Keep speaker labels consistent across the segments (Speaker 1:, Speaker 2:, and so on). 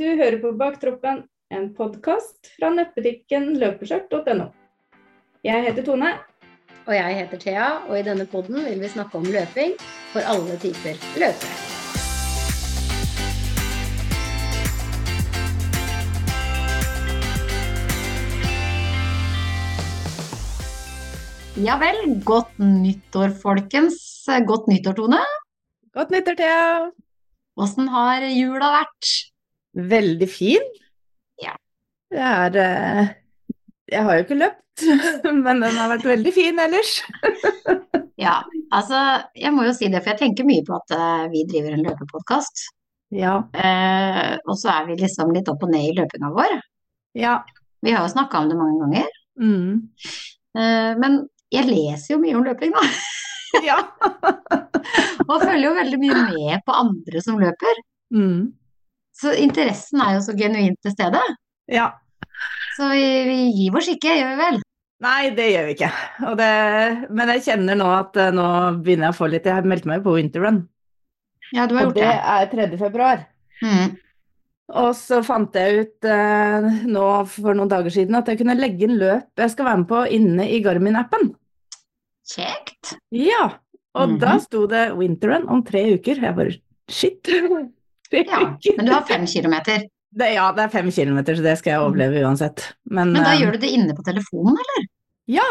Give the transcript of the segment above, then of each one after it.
Speaker 1: Du hører på Baktroppen, en podkast fra nettbutikken løpeskjørt.no. Jeg heter Tone.
Speaker 2: Og jeg heter Thea, og i denne podden vil vi snakke om løping for alle typer løpere. Ja vel, godt nyttår folkens. Godt nyttår, Tone.
Speaker 3: Godt nyttår, Thea.
Speaker 2: Åssen har jula vært?
Speaker 3: Veldig fin.
Speaker 2: Ja.
Speaker 3: Det er eh, Jeg har jo ikke løpt, men den har vært veldig fin ellers.
Speaker 2: Ja, altså jeg må jo si det, for jeg tenker mye på at eh, vi driver en løpepodkast.
Speaker 3: Ja.
Speaker 2: Eh, og så er vi liksom litt opp og ned i løpinga vår.
Speaker 3: Ja.
Speaker 2: Vi har jo snakka om det mange ganger.
Speaker 3: Mm.
Speaker 2: Eh, men jeg leser jo mye om løping, da.
Speaker 3: ja.
Speaker 2: Og følger jo veldig mye med på andre som løper.
Speaker 3: Mm.
Speaker 2: Så interessen er jo så genuint til stede.
Speaker 3: ja.
Speaker 2: Så vi, vi gir oss ikke, gjør vi vel?
Speaker 3: Nei, det gjør vi ikke. Og det, men jeg kjenner nå at eh, nå begynner jeg å få litt Jeg meldte meg jo på Winterrun,
Speaker 2: Ja, du
Speaker 3: og
Speaker 2: har gjort
Speaker 3: det
Speaker 2: det.
Speaker 3: er 3. februar.
Speaker 2: Mm.
Speaker 3: Og så fant jeg ut eh, nå for noen dager siden at jeg kunne legge inn løp jeg skal være med på inne i Garmin-appen.
Speaker 2: Kjekt.
Speaker 3: Ja, og
Speaker 2: Mhm.
Speaker 3: da sto det Winterrun om tre uker. Jeg bare shit. Tre
Speaker 2: Ja,
Speaker 3: uker.
Speaker 2: men du har fem kilometer.
Speaker 3: Det, ja, det er fem kilometer, så det skal jeg overleve uansett. Men,
Speaker 2: Men da
Speaker 3: eh,
Speaker 2: gjør du det inne på telefonen, eller?
Speaker 3: Ja,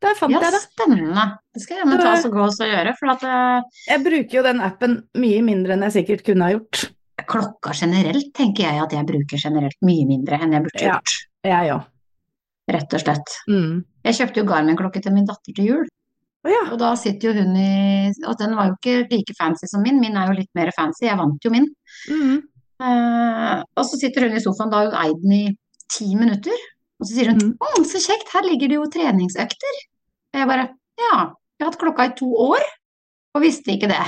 Speaker 3: der fant
Speaker 2: Ja,
Speaker 3: jeg det.
Speaker 2: spennende. Det skal jeg gjerne ta
Speaker 3: Det-
Speaker 2: oss og gå oss og gjøre. For at eh,
Speaker 3: Jeg bruker jo den appen mye mindre enn jeg sikkert kunne ha gjort.
Speaker 2: klokka generelt tenker jeg at jeg bruker generelt mye mindre enn jeg burde
Speaker 3: Ja.
Speaker 2: gjort.
Speaker 3: Jeg òg.
Speaker 2: Rett og slett.
Speaker 3: Mm.
Speaker 2: Jeg kjøpte jo Garmin-klokke til min datter til jul.
Speaker 3: Å ja.
Speaker 2: Og da sitter jo hun i Og den var jo ikke like fancy som min, min er jo litt mer fancy, jeg vant jo min.
Speaker 3: Mm.
Speaker 2: Eh, og så sitter hun i sofaen, da har hun eid den i ti minutter. Og så sier hun
Speaker 3: Mm.
Speaker 2: «Å, så kjekt, her ligger det jo treningsøkter. Og jeg bare ja, jeg har hatt klokka i to år og visste ikke det.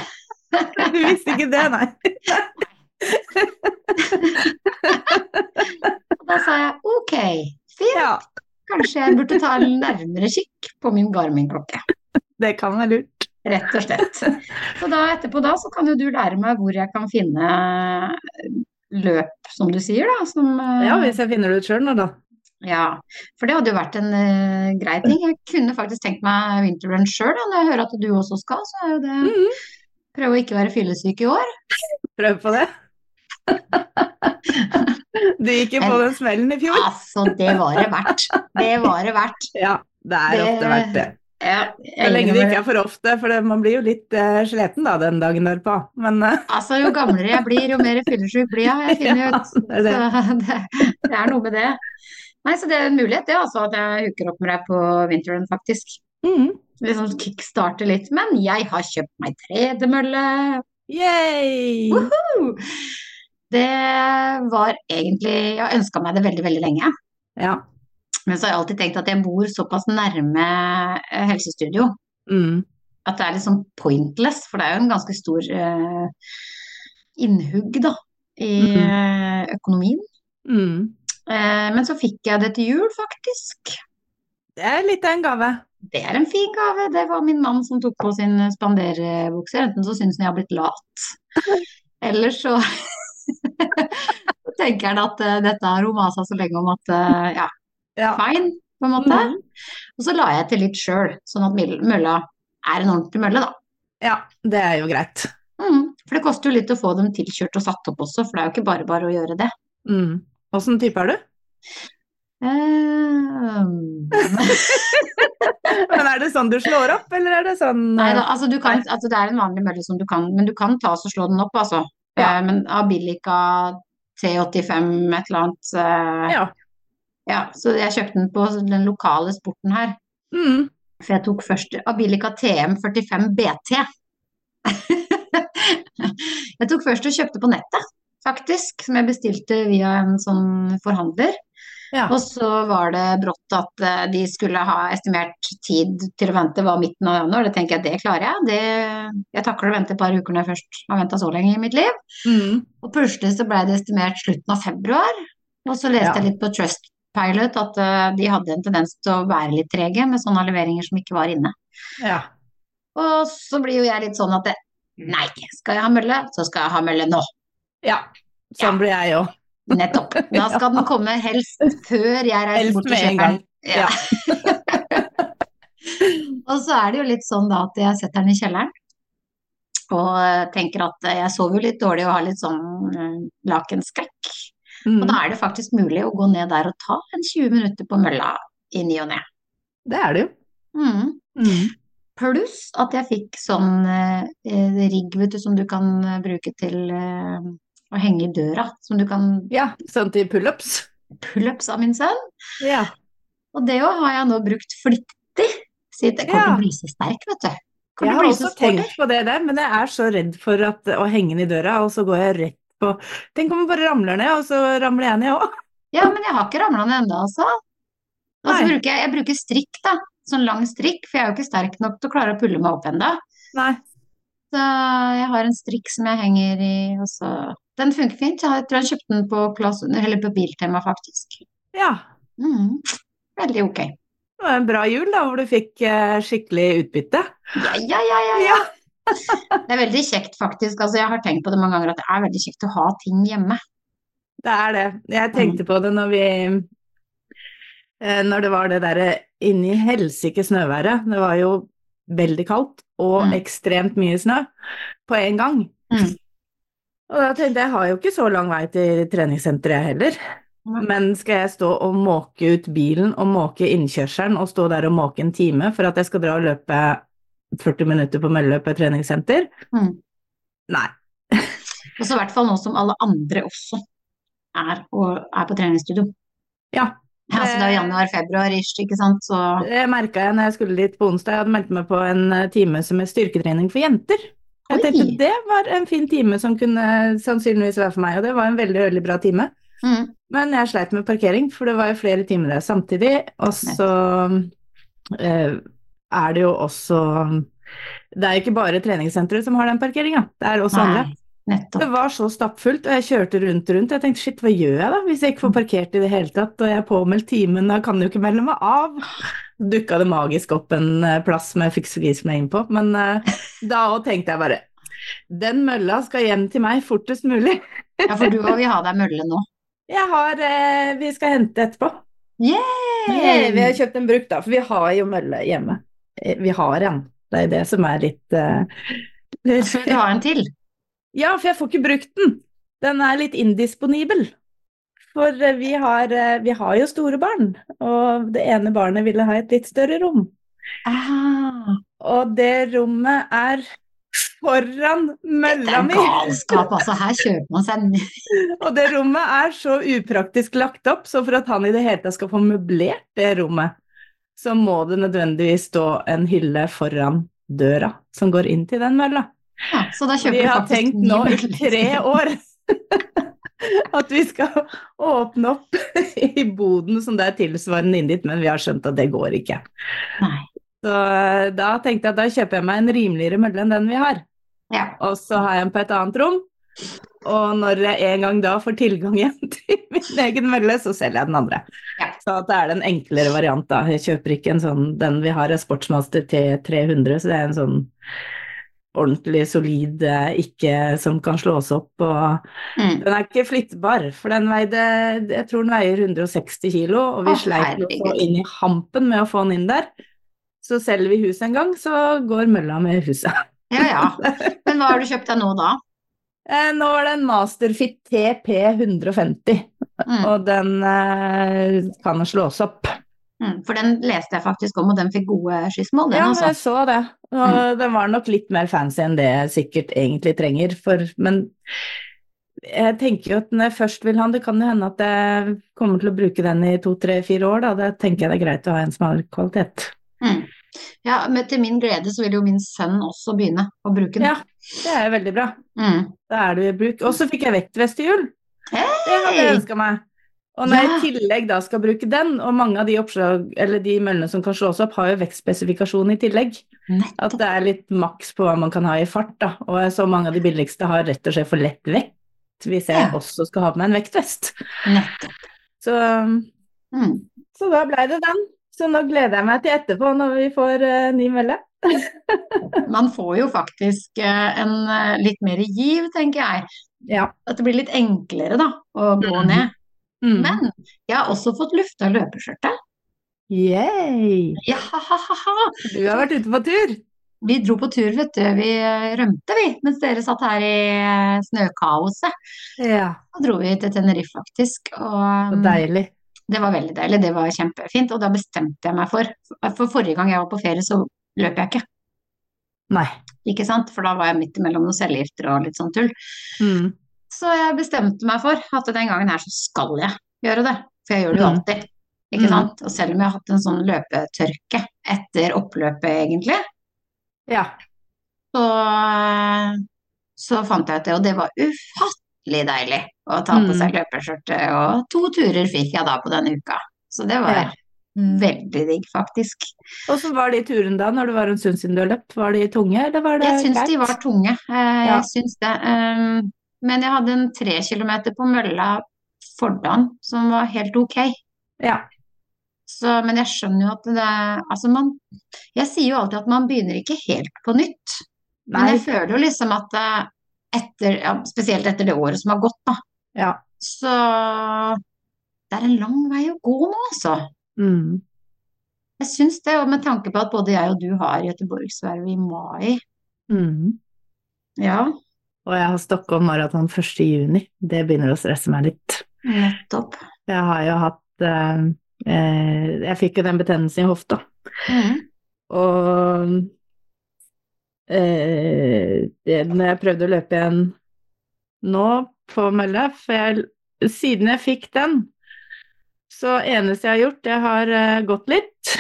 Speaker 3: Du visste ikke det, nei.
Speaker 2: Og da sa jeg ok, fint,
Speaker 3: Ja,
Speaker 2: kanskje jeg burde ta en nærmere kikk på min Garmin-klokke.
Speaker 3: det kan være lurt.
Speaker 2: Rett og slett. Så da etterpå da, så kan jo du lære meg hvor jeg kan finne løp, som du sier, da. Som, eh,
Speaker 3: Ja, hvis jeg finner det ut sjøl nå, da.
Speaker 2: ja. For det hadde jo vært en eh, grei ting. Jeg kunne faktisk tenkt meg vinterrun sjøl, da. Når jeg hører at du også skal, så er jo det
Speaker 3: Mhm.
Speaker 2: Prøve å ikke være fyllesyk i år.
Speaker 3: Prøv på det. Du gikk jo på den smellen i fjor.
Speaker 2: Altså, det var det verdt. Det var det verdt.
Speaker 3: Ja, det er
Speaker 2: Det-
Speaker 3: ofte verdt det.
Speaker 2: Ja,
Speaker 3: Så
Speaker 2: jeg
Speaker 3: lenge det
Speaker 2: innrømmer
Speaker 3: ikke er for ofte, for det, man blir jo litt eh, sliten da den dagen derpå. Men eh,
Speaker 2: Altså, jo gamlere jeg blir, jo mer fyllesyk blir jeg. Jeg finner
Speaker 3: Ja,
Speaker 2: ut.
Speaker 3: det er det.
Speaker 2: Så det, det er noe med det. Nei, så det er en mulighet, det altså, at jeg hooker opp med deg på vinteren, faktisk. Liksom kickstarte litt. Men jeg har kjøpt meg tredemølle.
Speaker 3: Yay!
Speaker 2: Det var egentlig Jeg har ønska meg det veldig, veldig lenge.
Speaker 3: Ja.
Speaker 2: Men så har jeg alltid tenkt at jeg bor såpass nærme eh, helsestudio
Speaker 3: Mm.
Speaker 2: at det er litt sånn pointless, for det er jo en ganske stor eh, innhugg, da, i eh, økonomien.
Speaker 3: Mm.
Speaker 2: Eh, Men så fikk jeg det til jul, faktisk.
Speaker 3: Det er litt av en gave.
Speaker 2: Det er en fin gave. Det var min mann som tok på sin spanderbukse. Enten så syns han jeg har blitt lat, eller så så tenker han at eh, dette har hun masa så lenge om at eh, ja,
Speaker 3: Ja.
Speaker 2: fine, på en måte.
Speaker 3: Mhm.
Speaker 2: Og så la jeg til litt sjøl, sånn at mil- mølla er en ordentlig mølle, da.
Speaker 3: ja, det er jo greit.
Speaker 2: Mhm. For det koster jo litt å få dem tilkjørt og satt opp også, for det er jo ikke bare bare å gjøre det.
Speaker 3: Mm. Åssen type er du?
Speaker 2: Eh,
Speaker 3: Men Er det sånn du slår opp, eller er det sånn
Speaker 2: Nei da,
Speaker 3: eh,
Speaker 2: altså du kan, altså det er en vanlig mølle som du kan, men du kan ta og slå den opp, altså.
Speaker 3: Ja.
Speaker 2: Eh, men Abilica T85, et eller annet. eh,
Speaker 3: Ja.
Speaker 2: ja. Så jeg kjøpte den på den lokale sporten her.
Speaker 3: Mm.
Speaker 2: For jeg tok først Abilica TM45 BT. jeg tok først og kjøpte på nettet, faktisk. Som jeg bestilte via en sånn forhandler.
Speaker 3: Ja.
Speaker 2: Og så var det brått at eh, de skulle ha estimert tid til å vente var midten av januar. Det tenker jeg, det klarer jeg. Det, jeg takler å vente et par uker når jeg først har venta så lenge i mitt liv.
Speaker 3: Mm.
Speaker 2: Og plutselig så ble det estimert slutten av februar. Og så leste
Speaker 3: Ja.
Speaker 2: jeg litt på Trustpilot at eh, de hadde en tendens til å være litt trege med sånne leveringer som ikke var inne.
Speaker 3: ja.
Speaker 2: Og så blir jo jeg litt sånn at det, nei, skal jeg ha mølle, så skal jeg ha mølle nå.
Speaker 3: Ja. Sånn
Speaker 2: Ja.
Speaker 3: blir jeg òg.
Speaker 2: Nettopp. Da skal den komme helst før jeg reiser
Speaker 3: Helst
Speaker 2: bort
Speaker 3: med
Speaker 2: til
Speaker 3: en gang.
Speaker 2: kjøperen. Ja. og så er det jo litt sånn da at jeg setter den i kjelleren. Og eh, tenker at eh, jeg sover jo litt dårlig og har litt sånn eh, lakenskrekk.
Speaker 3: Mm,
Speaker 2: Og da er det faktisk mulig å gå ned der og ta en 20 minutter på mølla i ny og ne.
Speaker 3: Det er det jo.
Speaker 2: Mm. Pluss at jeg fikk sånn eh, eh, rigg, vet du, som du kan eh, bruke til eh, å henge i døra. Som du kan
Speaker 3: Ja, sånn til pullups.
Speaker 2: pullups av min sønn.
Speaker 3: Ja.
Speaker 2: Og det òg har jeg nå brukt flittig. Så det kommer
Speaker 3: Ja.
Speaker 2: til å bli så sterk, vet du.
Speaker 3: Jeg
Speaker 2: Kommer
Speaker 3: har
Speaker 2: til å bli
Speaker 3: også
Speaker 2: så sporty.
Speaker 3: tenkt på det der, men jeg er så redd for at, å henge den i døra, og så går jeg rett på Tenk om jeg bare ramler ned, og så ramler jeg ned òg.
Speaker 2: Ja, men jeg har ikke ramla ned ennå, altså. Og så
Speaker 3: Nei.
Speaker 2: bruker jeg, jeg bruker strikk, da. Sånn lang strikk, for jeg er jo ikke sterk nok til å klare å pulle meg opp ennå.
Speaker 3: Nei.
Speaker 2: Så jeg har en strikk som jeg henger i, og så Den funker fint. Jeg har- tror jeg kjøpte den på Claes Under, eller på Biltema, faktisk.
Speaker 3: Ja.
Speaker 2: Mm. Veldig ok.
Speaker 3: Det var en bra jul, da, hvor du fikk eh, skikkelig utbytte.
Speaker 2: Ja, ja, ja, ja, ja. Det er veldig kjekt, faktisk. Altså, jeg har tenkt på det mange ganger at det er veldig kjekt å ha ting hjemme.
Speaker 3: Det er det. Jeg tenkte på det når vi eh, Når det var det derre inni helsike snøværet. Det var jo veldig kaldt og
Speaker 2: Mm.
Speaker 3: ekstremt mye snø på en gang.
Speaker 2: Mm.
Speaker 3: Og da tenkte jeg, jeg har jo ikke så lang vei til treningssenteret jeg heller.
Speaker 2: Nei.
Speaker 3: Men skal jeg stå og måke ut bilen og måke innkjørselen og stå der og måke en time for at jeg skal dra og løpe 40 minutter på mølle på et treningssenter?
Speaker 2: Mm.
Speaker 3: Nei.
Speaker 2: Og så Altså, i hvert fall nå som alle andre også er, og er på treningsstudio.
Speaker 3: Ja.
Speaker 2: Ja, så det er jo januar-februar-ish, ikke sant? Så
Speaker 3: Det merka jeg når jeg skulle dit på onsdag. Jeg hadde meldt meg på en eh, time som er styrketrening for jenter. Jeg
Speaker 2: Oi.
Speaker 3: tenkte det var en fin time som kunne sannsynligvis være for meg, og det var en veldig, veldig bra time.
Speaker 2: mm.
Speaker 3: Men jeg sleit med parkering, for det var jo flere timer der samtidig. Og så eh, er det jo også Det er jo ikke bare treningssenteret som har den parkeringa, det er også andre.
Speaker 2: Nei,
Speaker 3: Det
Speaker 2: nettopp.
Speaker 3: var så stappfullt, og jeg kjørte rundt og rundt. Jeg tenkte shit, hva gjør jeg da, hvis jeg ikke får parkert i det hele tatt, og jeg er påmeldt timen, da kan jeg jo ikke melde meg av. Dukka det magisk opp en eh, plass som jeg fikk så gris meg inn på, men eh, da òg tenkte jeg bare den mølla skal hjem til meg fortest mulig.
Speaker 2: Ja, for du òg vil ha deg mølle nå.
Speaker 3: Jeg har eh, Vi skal hente etterpå. Eh, Vi har kjøpt en brukt, da, for vi har jo mølle hjemme. Eh, Vi har en. Det er det som er litt eh,
Speaker 2: Så vil du ha en til?
Speaker 3: Ja, for jeg får ikke brukt den. Den er litt indisponibel. For eh, vi har, eh, vi har jo store barn, og det ene barnet ville ha et litt større rom.
Speaker 2: Ah,
Speaker 3: Og det rommet er foran
Speaker 2: det
Speaker 3: mølla
Speaker 2: er
Speaker 3: mi!
Speaker 2: galskap, altså. Her kjøper man seg en
Speaker 3: Og det rommet er så upraktisk lagt opp, så for at han i det hele tatt skal få møblert det rommet, så må det nødvendigvis stå en hylle foran døra som går inn til den mølla.
Speaker 2: ja, Så da
Speaker 3: Vi
Speaker 2: kjøper du
Speaker 3: har
Speaker 2: faktisk
Speaker 3: tenkt
Speaker 2: ni
Speaker 3: nå i
Speaker 2: møller.
Speaker 3: tre år at vi skal åpne opp i boden som det er tilsvarende inn dit, men vi har skjønt at det går ikke.
Speaker 2: Nei.
Speaker 3: Så eh, da tenkte jeg at da kjøper jeg meg en rimeligere mølle enn den vi har,
Speaker 2: Ja.
Speaker 3: og så har jeg en på et annet rom. Og når jeg en gang da får tilgang igjen til min egen mølle, så selger jeg den andre.
Speaker 2: Ja.
Speaker 3: Så at det er den enklere variant, da. Jeg kjøper ikke en sånn Den vi har er Sportsmaster T300, så det er en sånn ordentlig solid, eh, ikke som kan slås opp. Og
Speaker 2: Mm.
Speaker 3: den er ikke flyttbar, for den veide Jeg tror den veier 160 kilo, og vi
Speaker 2: Å,
Speaker 3: sleit med å få
Speaker 2: herregud.
Speaker 3: inn i hampen med å få den inn der. Så selger vi huset en gang, så går mølla med huset.
Speaker 2: Ja ja. Men hva har du kjøpt deg nå da?
Speaker 3: Eh, Nå er det en Masterfit TP150,
Speaker 2: Mm.
Speaker 3: og den eh, kan slås opp.
Speaker 2: Mm. For den leste jeg faktisk om, og den fikk gode skissmål, den
Speaker 3: Ja,
Speaker 2: altså. Mm.
Speaker 3: jeg så det. Og den var nok litt mer fancy enn det jeg sikkert egentlig trenger, for Men jeg tenker jo at når jeg først vil ha den, det kan jo hende at jeg kommer til å bruke den i to, tre, fire år, da. Da tenker jeg det er greit å ha en som har kvalitet.
Speaker 2: Mm. Ja, men til min glede så vil jo min sønn også begynne å bruke den.
Speaker 3: Ja, det er jo veldig bra.
Speaker 2: Mm.
Speaker 3: Da er du i bruk. Og så fikk jeg vektvest til jul. Det hadde jeg
Speaker 2: Hei!
Speaker 3: ønska meg. Og når
Speaker 2: Ja.
Speaker 3: jeg i tillegg da skal bruke den, og mange av de oppslag, eller de møllene som kan slås opp, har jo vektspesifikasjon i tillegg. At
Speaker 2: Nettopp.
Speaker 3: det er litt maks på hva man kan ha i fart, da. Og jeg så mange av de billigste har rett og slett for lett vekt, hvis jeg
Speaker 2: Ja.
Speaker 3: også skal ha på meg en vektvest.
Speaker 2: Nettopp.
Speaker 3: Så,
Speaker 2: eh,
Speaker 3: um,
Speaker 2: Mm.
Speaker 3: så da blei det den. Så nå gleder jeg meg til etterpå, når vi får eh, ny mølle.
Speaker 2: Man får jo faktisk eh, en eh, litt mer giv, tenker jeg,
Speaker 3: Ja.
Speaker 2: At det blir litt enklere da, å gå
Speaker 3: Mhm.
Speaker 2: ned.
Speaker 3: Mm.
Speaker 2: Men jeg har også fått lufta løpeskjørtet.
Speaker 3: Yay!
Speaker 2: Ja, ha, ha, ha, ha.
Speaker 3: Du har vært ute på tur.
Speaker 2: Vi dro på tur, vet du. Vi eh, rømte, vi. Mens dere satt her i eh, snøkaoset.
Speaker 3: Ja,
Speaker 2: Da dro vi til Tenerife, faktisk. Og
Speaker 3: så
Speaker 2: mm,
Speaker 3: deilig.
Speaker 2: det var veldig deilig. Det var kjempefint. Og da bestemte jeg meg for For forrige gang jeg var på ferie, så løp jeg ikke.
Speaker 3: Nei.
Speaker 2: Ikke sant? For da var jeg midt imellom noen cellegifter og litt sånn tull.
Speaker 3: Mm.
Speaker 2: Så jeg bestemte meg for at den gangen her så skal jeg gjøre det. For jeg gjør det jo
Speaker 3: Mhm.
Speaker 2: alltid. Ikke
Speaker 3: Mhm.
Speaker 2: sant? Og selv om jeg har hatt en sånn løpetørke etter oppløpet, egentlig,
Speaker 3: Ja.
Speaker 2: så, så fant jeg ut det. Og det var ufattelig deilig å ta på
Speaker 3: Mhm.
Speaker 2: seg løpeskjørtet. Og to turer fikk jeg da på den uka. Så det var
Speaker 3: Ja.
Speaker 2: veldig digg, faktisk.
Speaker 3: Og så var de turene da, når det var en stund siden du har løpt, var de tunge, eller var det
Speaker 2: Jeg syns de var tunge. eh,
Speaker 3: Ja.
Speaker 2: Jeg syns det. ehm, Men jeg hadde en tre kilometer på mølla Fordal som var helt ok.
Speaker 3: Ja.
Speaker 2: Så, men jeg skjønner jo at det Altså, man Jeg sier jo alltid at man begynner ikke helt på nytt. Men
Speaker 3: Nei.
Speaker 2: jeg føler jo liksom at eh, etter ja, Spesielt etter det året som har gått, da.
Speaker 3: Ja.
Speaker 2: Så det er en lang vei å gå nå, altså.
Speaker 3: Mm.
Speaker 2: Jeg syns det. Og med tanke på at både jeg og du har Göteborgsverv i mai.
Speaker 3: Mm.
Speaker 2: Ja,
Speaker 3: Og jeg har Stockholm maraton 1. juni. Det begynner å stresse meg litt.
Speaker 2: nettopp.
Speaker 3: Jeg har jo hatt eh, eh, Jeg fikk jo den betennelsen i hofta.
Speaker 2: Mm.
Speaker 3: Og eh, det, når jeg prøvde å løpe igjen nå på mølla, for jeg, siden jeg fikk den, så eneste jeg har gjort, jeg har eh, gått litt.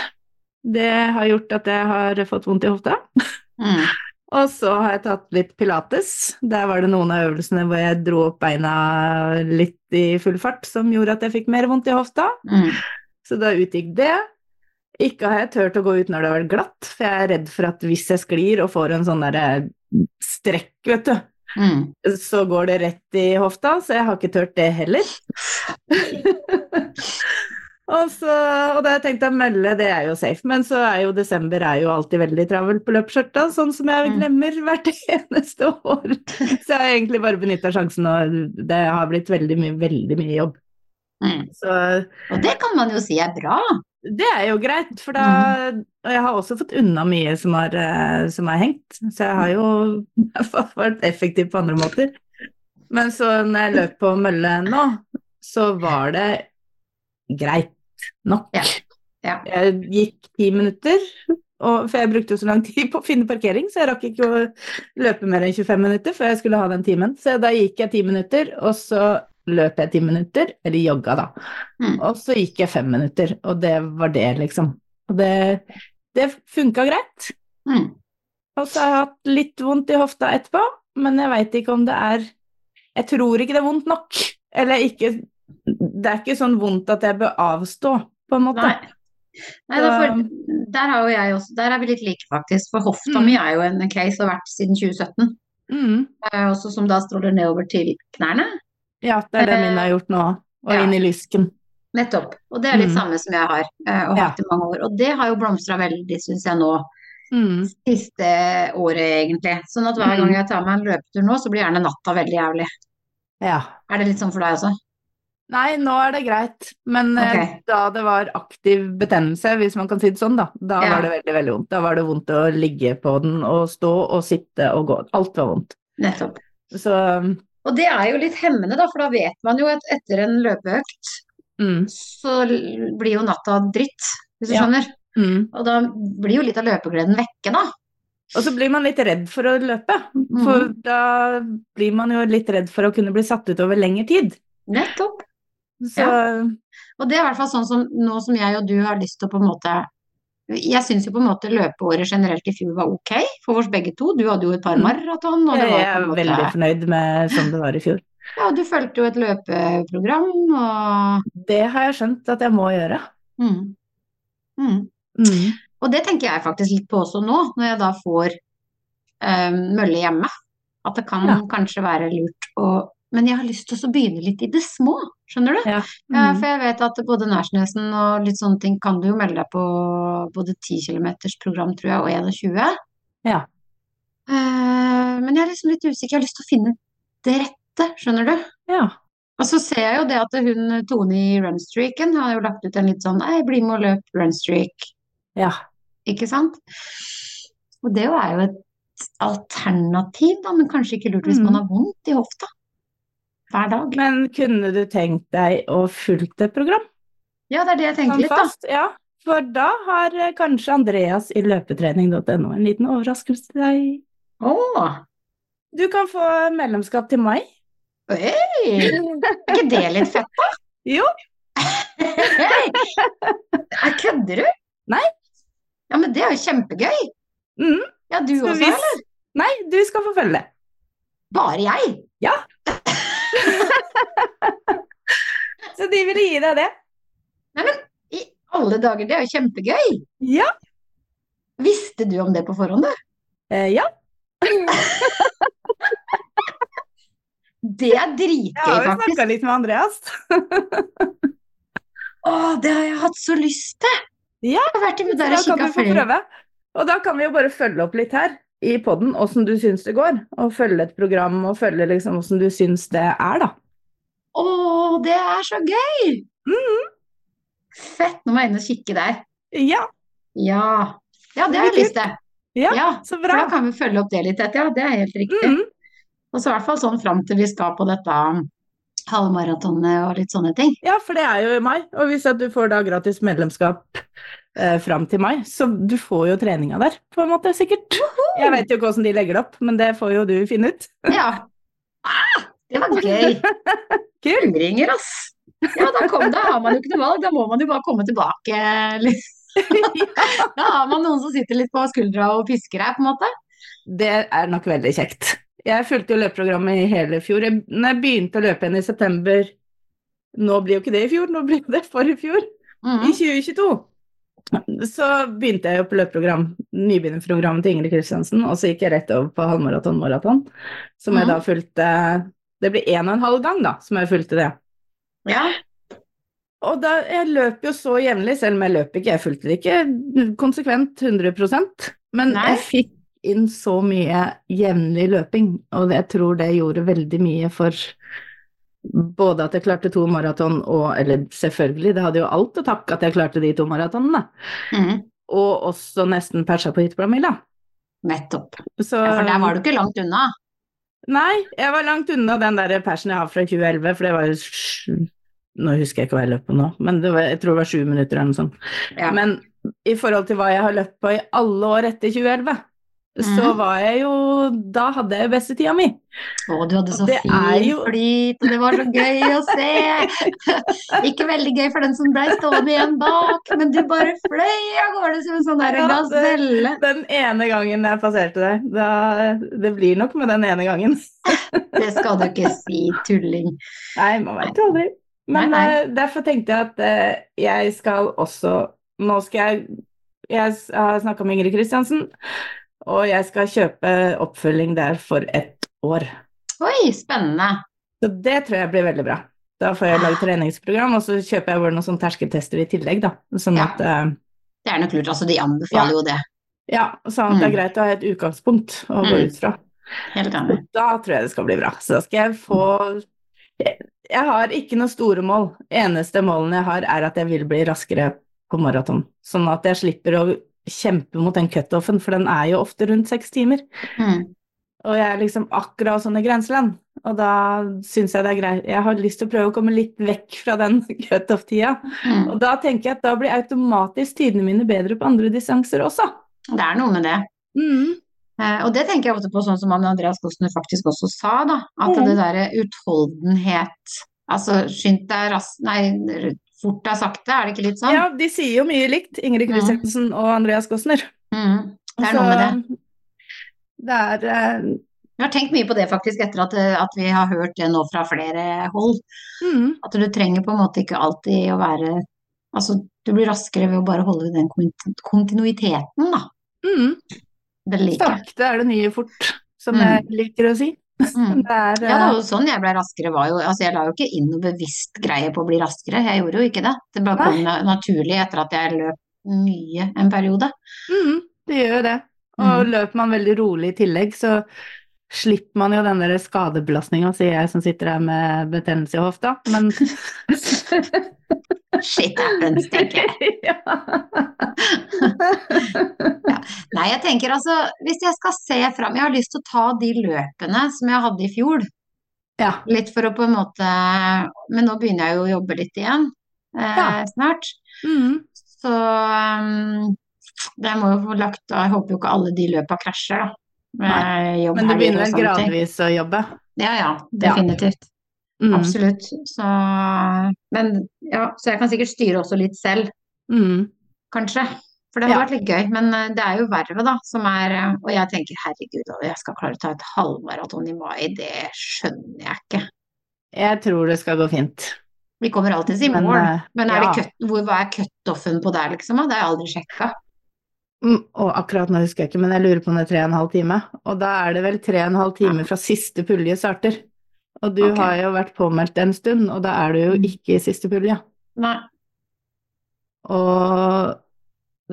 Speaker 3: Det har gjort at jeg har fått vondt i hofta.
Speaker 2: Mm.
Speaker 3: Og så har jeg tatt litt pilates. Der var det noen av øvelsene hvor jeg dro opp beina litt i full fart, som gjorde at jeg fikk mer vondt i hofta.
Speaker 2: Mm.
Speaker 3: Så da utgikk det. Ikke har jeg turt å gå ut når det har vært glatt, for jeg er redd for at hvis jeg sklir og får en sånn derre strekk, vet du,
Speaker 2: Mm.
Speaker 3: så går det rett i hofta, så jeg har ikke turt det heller. og, så, og da har jeg tenkt at mølle, det er jo safe, men så er jo desember er jo alltid veldig travel på løpsskjørta, sånn som jeg
Speaker 2: Mm.
Speaker 3: glemmer hvert eneste år. Så jeg har egentlig bare benytta sjansen, og det har blitt veldig mye, veldig mye jobb.
Speaker 2: Mm.
Speaker 3: Så
Speaker 2: Og det kan man jo si er bra.
Speaker 3: det er jo greit, for da
Speaker 2: Mm.
Speaker 3: Og jeg har også fått unna mye som har, eh, som har hengt, så jeg har jo i hvert fall vært effektiv på andre måter. Men så når jeg løp på mølle nå, så var det greit nok.
Speaker 2: Ja, ja.
Speaker 3: Jeg gikk ti minutter, og, for jeg brukte jo så lang tid på å finne parkering, så jeg rakk ikke å løpe mer enn 25 minutter før jeg skulle ha den timen. Så da gikk jeg ti minutter, og så løp jeg ti minutter, eller jogga da.
Speaker 2: Mm.
Speaker 3: Og så gikk jeg fem minutter, og det var det, liksom. Og det, det funka greit.
Speaker 2: Mm.
Speaker 3: Og så har jeg hatt litt vondt i hofta etterpå, men jeg veit ikke om det er Jeg tror ikke det er vondt nok. Eller ikke Det er ikke sånn vondt at jeg bør avstå, på en måte.
Speaker 2: Nei. Nei, da får,
Speaker 3: Så-
Speaker 2: der, har jo jeg også, der er vi litt like, faktisk. For hofta
Speaker 3: Mm.
Speaker 2: mi er jo en case og har vært siden 2017.
Speaker 3: Mm.
Speaker 2: eh, Også som da stråler nedover til knærne.
Speaker 3: Ja, det er det min har gjort nå. Og
Speaker 2: Eh, Ja.
Speaker 3: inn i lysken.
Speaker 2: Nettopp. Og det er litt
Speaker 3: Mm.
Speaker 2: samme som jeg har, eh, og har hatt i mange år. Og det har jo blomstra veldig, syns jeg nå.
Speaker 3: Mm.
Speaker 2: Siste året, egentlig. Sånn at hver gang
Speaker 3: Mm.
Speaker 2: jeg tar meg en løpetur nå, så blir gjerne natta veldig jævlig.
Speaker 3: Ja.
Speaker 2: Er det litt sånn for deg også?
Speaker 3: Nei, nå er det greit, men eh,
Speaker 2: Ok.
Speaker 3: da det var aktiv betennelse, hvis man kan si det sånn, da, da
Speaker 2: Ja.
Speaker 3: var det veldig, veldig vondt. Da var det vondt å ligge på den og stå og sitte og gå. Alt var vondt.
Speaker 2: Nettopp.
Speaker 3: Så
Speaker 2: Og det er jo litt hemmende, da, for da vet man jo at etter en løpeøkt
Speaker 3: mm,
Speaker 2: så l- blir jo natta dritt, hvis du
Speaker 3: Ja.
Speaker 2: skjønner.
Speaker 3: mm.
Speaker 2: Og da blir jo litt av løpegleden vekke, da.
Speaker 3: Og så blir man litt redd for å løpe, for
Speaker 2: Mm,
Speaker 3: da blir man jo litt redd for å kunne bli satt ut over lengre tid.
Speaker 2: Nettopp.
Speaker 3: Så
Speaker 2: Og det er i hvert fall sånn som nå som jeg og du har lyst til å på en måte Jeg syns jo på en måte løpeåret generelt i fjor var ok for oss begge to. Du hadde jo et par
Speaker 3: Mm.
Speaker 2: maraton, og det
Speaker 3: jeg
Speaker 2: var
Speaker 3: er
Speaker 2: på en
Speaker 3: veldig
Speaker 2: måte
Speaker 3: fornøyd med sånn det var i fjor.
Speaker 2: Ja, du fulgte jo et løpeprogram og
Speaker 3: Det har jeg skjønt at jeg må gjøre.
Speaker 2: mm. Mm.
Speaker 3: Mm.
Speaker 2: Og det tenker jeg faktisk litt på også nå, når jeg da får eh, mølle hjemme. At det kan
Speaker 3: Ja.
Speaker 2: kanskje være lurt å Men jeg har lyst til å begynne litt i det små, skjønner du?
Speaker 3: Ja.
Speaker 2: Ja,
Speaker 3: Mm.
Speaker 2: for jeg vet at både Nærsnesen og litt sånne ting kan du jo melde deg på både 10 km program, tror jeg, og 21.
Speaker 3: Ja.
Speaker 2: Eh, men jeg er liksom litt usikker. Jeg har lyst til å finne det rette dette, skjønner du.
Speaker 3: Ja.
Speaker 2: Og så ser jeg jo det at hun Tone i Runstreaken har jo lagt ut en litt sånn Ei, bli med og løp Runstreak,
Speaker 3: ja.
Speaker 2: ikke sant? Og det jo er jo et alternativ, da, men kanskje ikke lurt hvis man
Speaker 3: Mm.
Speaker 2: har vondt i hofta hver dag.
Speaker 3: Men kunne du tenkt deg å fulgt et program?
Speaker 2: Ja, det er det jeg tenker
Speaker 3: Sånn
Speaker 2: litt, da.
Speaker 3: fast? Ja, for da har eh, kanskje Andreas i løpetrening.no en liten overraskelse til deg.
Speaker 2: Åh,
Speaker 3: Du kan få medlemskap til meg.
Speaker 2: hei! Er ikke det litt fett, da?
Speaker 3: Jo.
Speaker 2: Hei! Jeg kødder du?
Speaker 3: Nei.
Speaker 2: Ja, men det er jo kjempegøy.
Speaker 3: Mm,
Speaker 2: Ja, du
Speaker 3: så
Speaker 2: også,
Speaker 3: hvis-
Speaker 2: eller?
Speaker 3: Nei, du skal få følge det.
Speaker 2: Bare jeg?
Speaker 3: Så de ville gi deg det?
Speaker 2: I alle dager, det er jo kjempegøy!
Speaker 3: Ja.
Speaker 2: Visste du om det på forhånd, du?
Speaker 3: Eh, ja.
Speaker 2: Det er
Speaker 3: Jeg
Speaker 2: dritgøy,
Speaker 3: har jo
Speaker 2: faktisk.
Speaker 3: snakka litt med Andreas.
Speaker 2: Å, det har jeg hatt så lyst til!
Speaker 3: Ja,
Speaker 2: Jeg har vært med der
Speaker 3: Da
Speaker 2: og
Speaker 3: kan du
Speaker 2: kikka
Speaker 3: få
Speaker 2: flere
Speaker 3: prøve. Og da kan vi jo bare følge opp litt her i podden åssen du syns det går. Og følge et program og følge liksom åssen du syns det er, da.
Speaker 2: Å, det er så gøy! Fett, nå må jeg inn og kikke der.
Speaker 3: Ja,
Speaker 2: Ja, ja det har jeg lyst til.
Speaker 3: Ja,
Speaker 2: Ja,
Speaker 3: så
Speaker 2: for da
Speaker 3: bra.
Speaker 2: kan vi følge opp det litt etter, ja. Det er helt riktig.
Speaker 3: Mm,
Speaker 2: Og så i hvert fall sånn fram til vi skal på dette um, halvmaratonet og litt sånne ting.
Speaker 3: ja, for det er jo i mai. Og hvis at du får da gratis medlemskap eh, fram til mai, så du får jo treninga der, på en måte, sikkert. Jeg vet jo ikke åssen de legger det opp, men det får jo du finne ut.
Speaker 2: Ja. Ah, det var gøy!
Speaker 3: Kult.
Speaker 2: Fullringer, ass! Ja, da, kom, da har man jo ikke noe valg, da må man jo bare komme tilbake. litt. Da har man noen som sitter litt på skuldra og pisker her, på en måte.
Speaker 3: Det er nok veldig kjekt. Jeg fulgte jo løpeprogrammet i hele fjor. Jeg, når jeg begynte å løpe igjen i september Nå blir jo ikke det i fjor, nå blir det for i fjor. I
Speaker 2: Mhm.
Speaker 3: 2022 så begynte jeg jo på løpeprogram, nybegynnerprogrammet til Ingrid Kristiansen, og så gikk jeg rett over på halvmaraton-maraton, som jeg
Speaker 2: Mhm.
Speaker 3: da fulgte Det blir en og en halv gang, da, som jeg fulgte det.
Speaker 2: Ja.
Speaker 3: Og da, jeg løp jo så jevnlig, selv om jeg løp ikke, jeg fulgte det ikke konsekvent 100 Men
Speaker 2: Nei.
Speaker 3: jeg fikk inn så mye jevnlig løping, og jeg tror det gjorde veldig mye for både at jeg klarte to maraton og Eller selvfølgelig, det hadde jo alt å takke at jeg klarte de to maratonene.
Speaker 2: Mhm.
Speaker 3: Og også nesten persa på hyttepromilla.
Speaker 2: Nettopp.
Speaker 3: Så
Speaker 2: Ja, for der var du ikke langt unna.
Speaker 3: Nei, jeg var langt unna den der persen jeg har fra 2011, for det var jo sj- Nå husker jeg ikke hva jeg løp på nå, men det var, jeg tror det var sju minutter eller noe sånt.
Speaker 2: Ja.
Speaker 3: Men i forhold til hva jeg har løpt på i alle år etter 2011, så
Speaker 2: Mhm.
Speaker 3: var jeg jo Da hadde jeg jo beste tida mi.
Speaker 2: Å, du hadde så
Speaker 3: Det
Speaker 2: fin
Speaker 3: er jo-
Speaker 2: flyt, og det var så gøy å se. Ikke veldig gøy for den som blei stående igjen bak, men du bare fløy av gårde som en sånn der
Speaker 3: Ja, det-
Speaker 2: gazelle.
Speaker 3: Den ene gangen jeg passerte deg. Da, det blir nok med den ene gangen.
Speaker 2: Det skal du ikke si, tulling.
Speaker 3: Nei, man veit jo aldri. Men
Speaker 2: Nei, nei.
Speaker 3: eh, derfor tenkte jeg at eh, jeg skal også Nå skal jeg Jeg s- har snakka med Ingrid Kristiansen, og jeg skal kjøpe oppfølging der for ett år.
Speaker 2: Oi, spennende.
Speaker 3: Så det tror jeg blir veldig bra. Da får jeg lagd treningsprogram, og så kjøper jeg vel noen sånne terskeltester i tillegg, da. Sånn
Speaker 2: Ja.
Speaker 3: at eh,
Speaker 2: Det er nok lurt. Altså, de anbefaler jo det.
Speaker 3: Ja, sånn at det er
Speaker 2: Mm.
Speaker 3: greit å ha et utgangspunkt å gå
Speaker 2: Mm.
Speaker 3: ut fra.
Speaker 2: Helt enig.
Speaker 3: Da tror jeg det skal bli bra. Så da skal jeg få Jeg jeg har ikke noe store mål. Eneste målene jeg har, er at jeg vil bli raskere på maraton. Sånn at jeg slipper å kjempe mot den cutoffen, for den er jo ofte rundt seks timer.
Speaker 2: Mm.
Speaker 3: Og jeg er liksom akkurat sånn i grenseland. Og da syns jeg det er greit. Jeg har lyst til å prøve å komme litt vekk fra den cutoff-tida.
Speaker 2: Mm.
Speaker 3: Og da tenker jeg at da blir automatisk tidene mine bedre på andre distanser også.
Speaker 2: Det er noe med det.
Speaker 3: Mm.
Speaker 2: Eh, Og det tenker jeg ofte på, sånn som han Andreas Kostner faktisk også sa, da. At
Speaker 3: Mhm.
Speaker 2: det derre utholdenhet Altså, skynd deg raskt Nei, fort deg sakte, er det ikke litt sånn?
Speaker 3: Ja, Mm. de sier jo mye likt, Ingrid
Speaker 2: Ja.
Speaker 3: Kristiansen og Andreas Gossner.
Speaker 2: Mhm. Det er
Speaker 3: Altså,
Speaker 2: noe med det. Altså,
Speaker 3: Det er eh,
Speaker 2: Jeg har tenkt mye på det faktisk etter at, eh, at vi har hørt det nå fra flere hold.
Speaker 3: mm,
Speaker 2: At du trenger på en måte ikke alltid å være Altså, du blir raskere ved å bare holde den konti- kontinuiteten, da.
Speaker 3: mm.
Speaker 2: Det liker jeg.
Speaker 3: Sakte er det nye fort, som
Speaker 2: Mm.
Speaker 3: jeg liker å si.
Speaker 2: Mm.
Speaker 3: Det er,
Speaker 2: Ja, det
Speaker 3: eh,
Speaker 2: var jo sånn jeg ble raskere. Var jo, altså jeg la jo ikke inn noe bevisst greie på å bli raskere, jeg gjorde jo ikke det. Det bare kom na- naturlig etter at jeg løp mye en periode. Mm.
Speaker 3: mm, det gjør jo det. Og løper man veldig rolig i tillegg, så slipper man jo den der skadebelastninga, sier jeg som sitter her med betennelse i hofta. Men
Speaker 2: Shit happens, tenker jeg. Nei, jeg tenker altså, hvis jeg skal se fram Jeg har lyst til å ta de løpene som jeg hadde i fjor.
Speaker 3: ja.
Speaker 2: Litt for å på en måte Men nå begynner jeg jo å jobbe litt igjen eh,
Speaker 3: Ja.
Speaker 2: snart.
Speaker 3: Mm.
Speaker 2: Så um, det må jo få lagt da, Jeg håper jo ikke alle de løpa krasjer, da. Med jobb
Speaker 3: Men du
Speaker 2: her
Speaker 3: begynner
Speaker 2: og
Speaker 3: vel
Speaker 2: sånne ting.
Speaker 3: gradvis å jobbe?
Speaker 2: Ja, ja. Definitivt.
Speaker 3: Mm.
Speaker 2: Absolutt. Så, men, ja, så jeg kan sikkert styre også litt selv,
Speaker 3: Mm.
Speaker 2: kanskje. For det hadde
Speaker 3: Ja.
Speaker 2: vært litt gøy. Men eh, det er jo vervet, da, som er eh, Og jeg tenker herregud, og jeg skal klare å ta et halvmaraton i mai, det skjønner jeg ikke.
Speaker 3: Jeg tror det skal gå fint.
Speaker 2: Vi kommer alltids i mål.
Speaker 3: eh,
Speaker 2: Men er det
Speaker 3: ja.
Speaker 2: cut, hvor, hva er cutoffen på der, liksom? da? Det har jeg aldri sjekka.
Speaker 3: Mm, Og akkurat nå husker jeg ikke, men jeg lurer på om det er tre og en halv time. Og da er det vel tre og en halv time fra siste pulje starter. Og du
Speaker 2: Ok.
Speaker 3: har jo vært påmeldt en stund, og da er du jo
Speaker 2: Mm.
Speaker 3: ikke i siste pulje.
Speaker 2: Nei.
Speaker 3: Og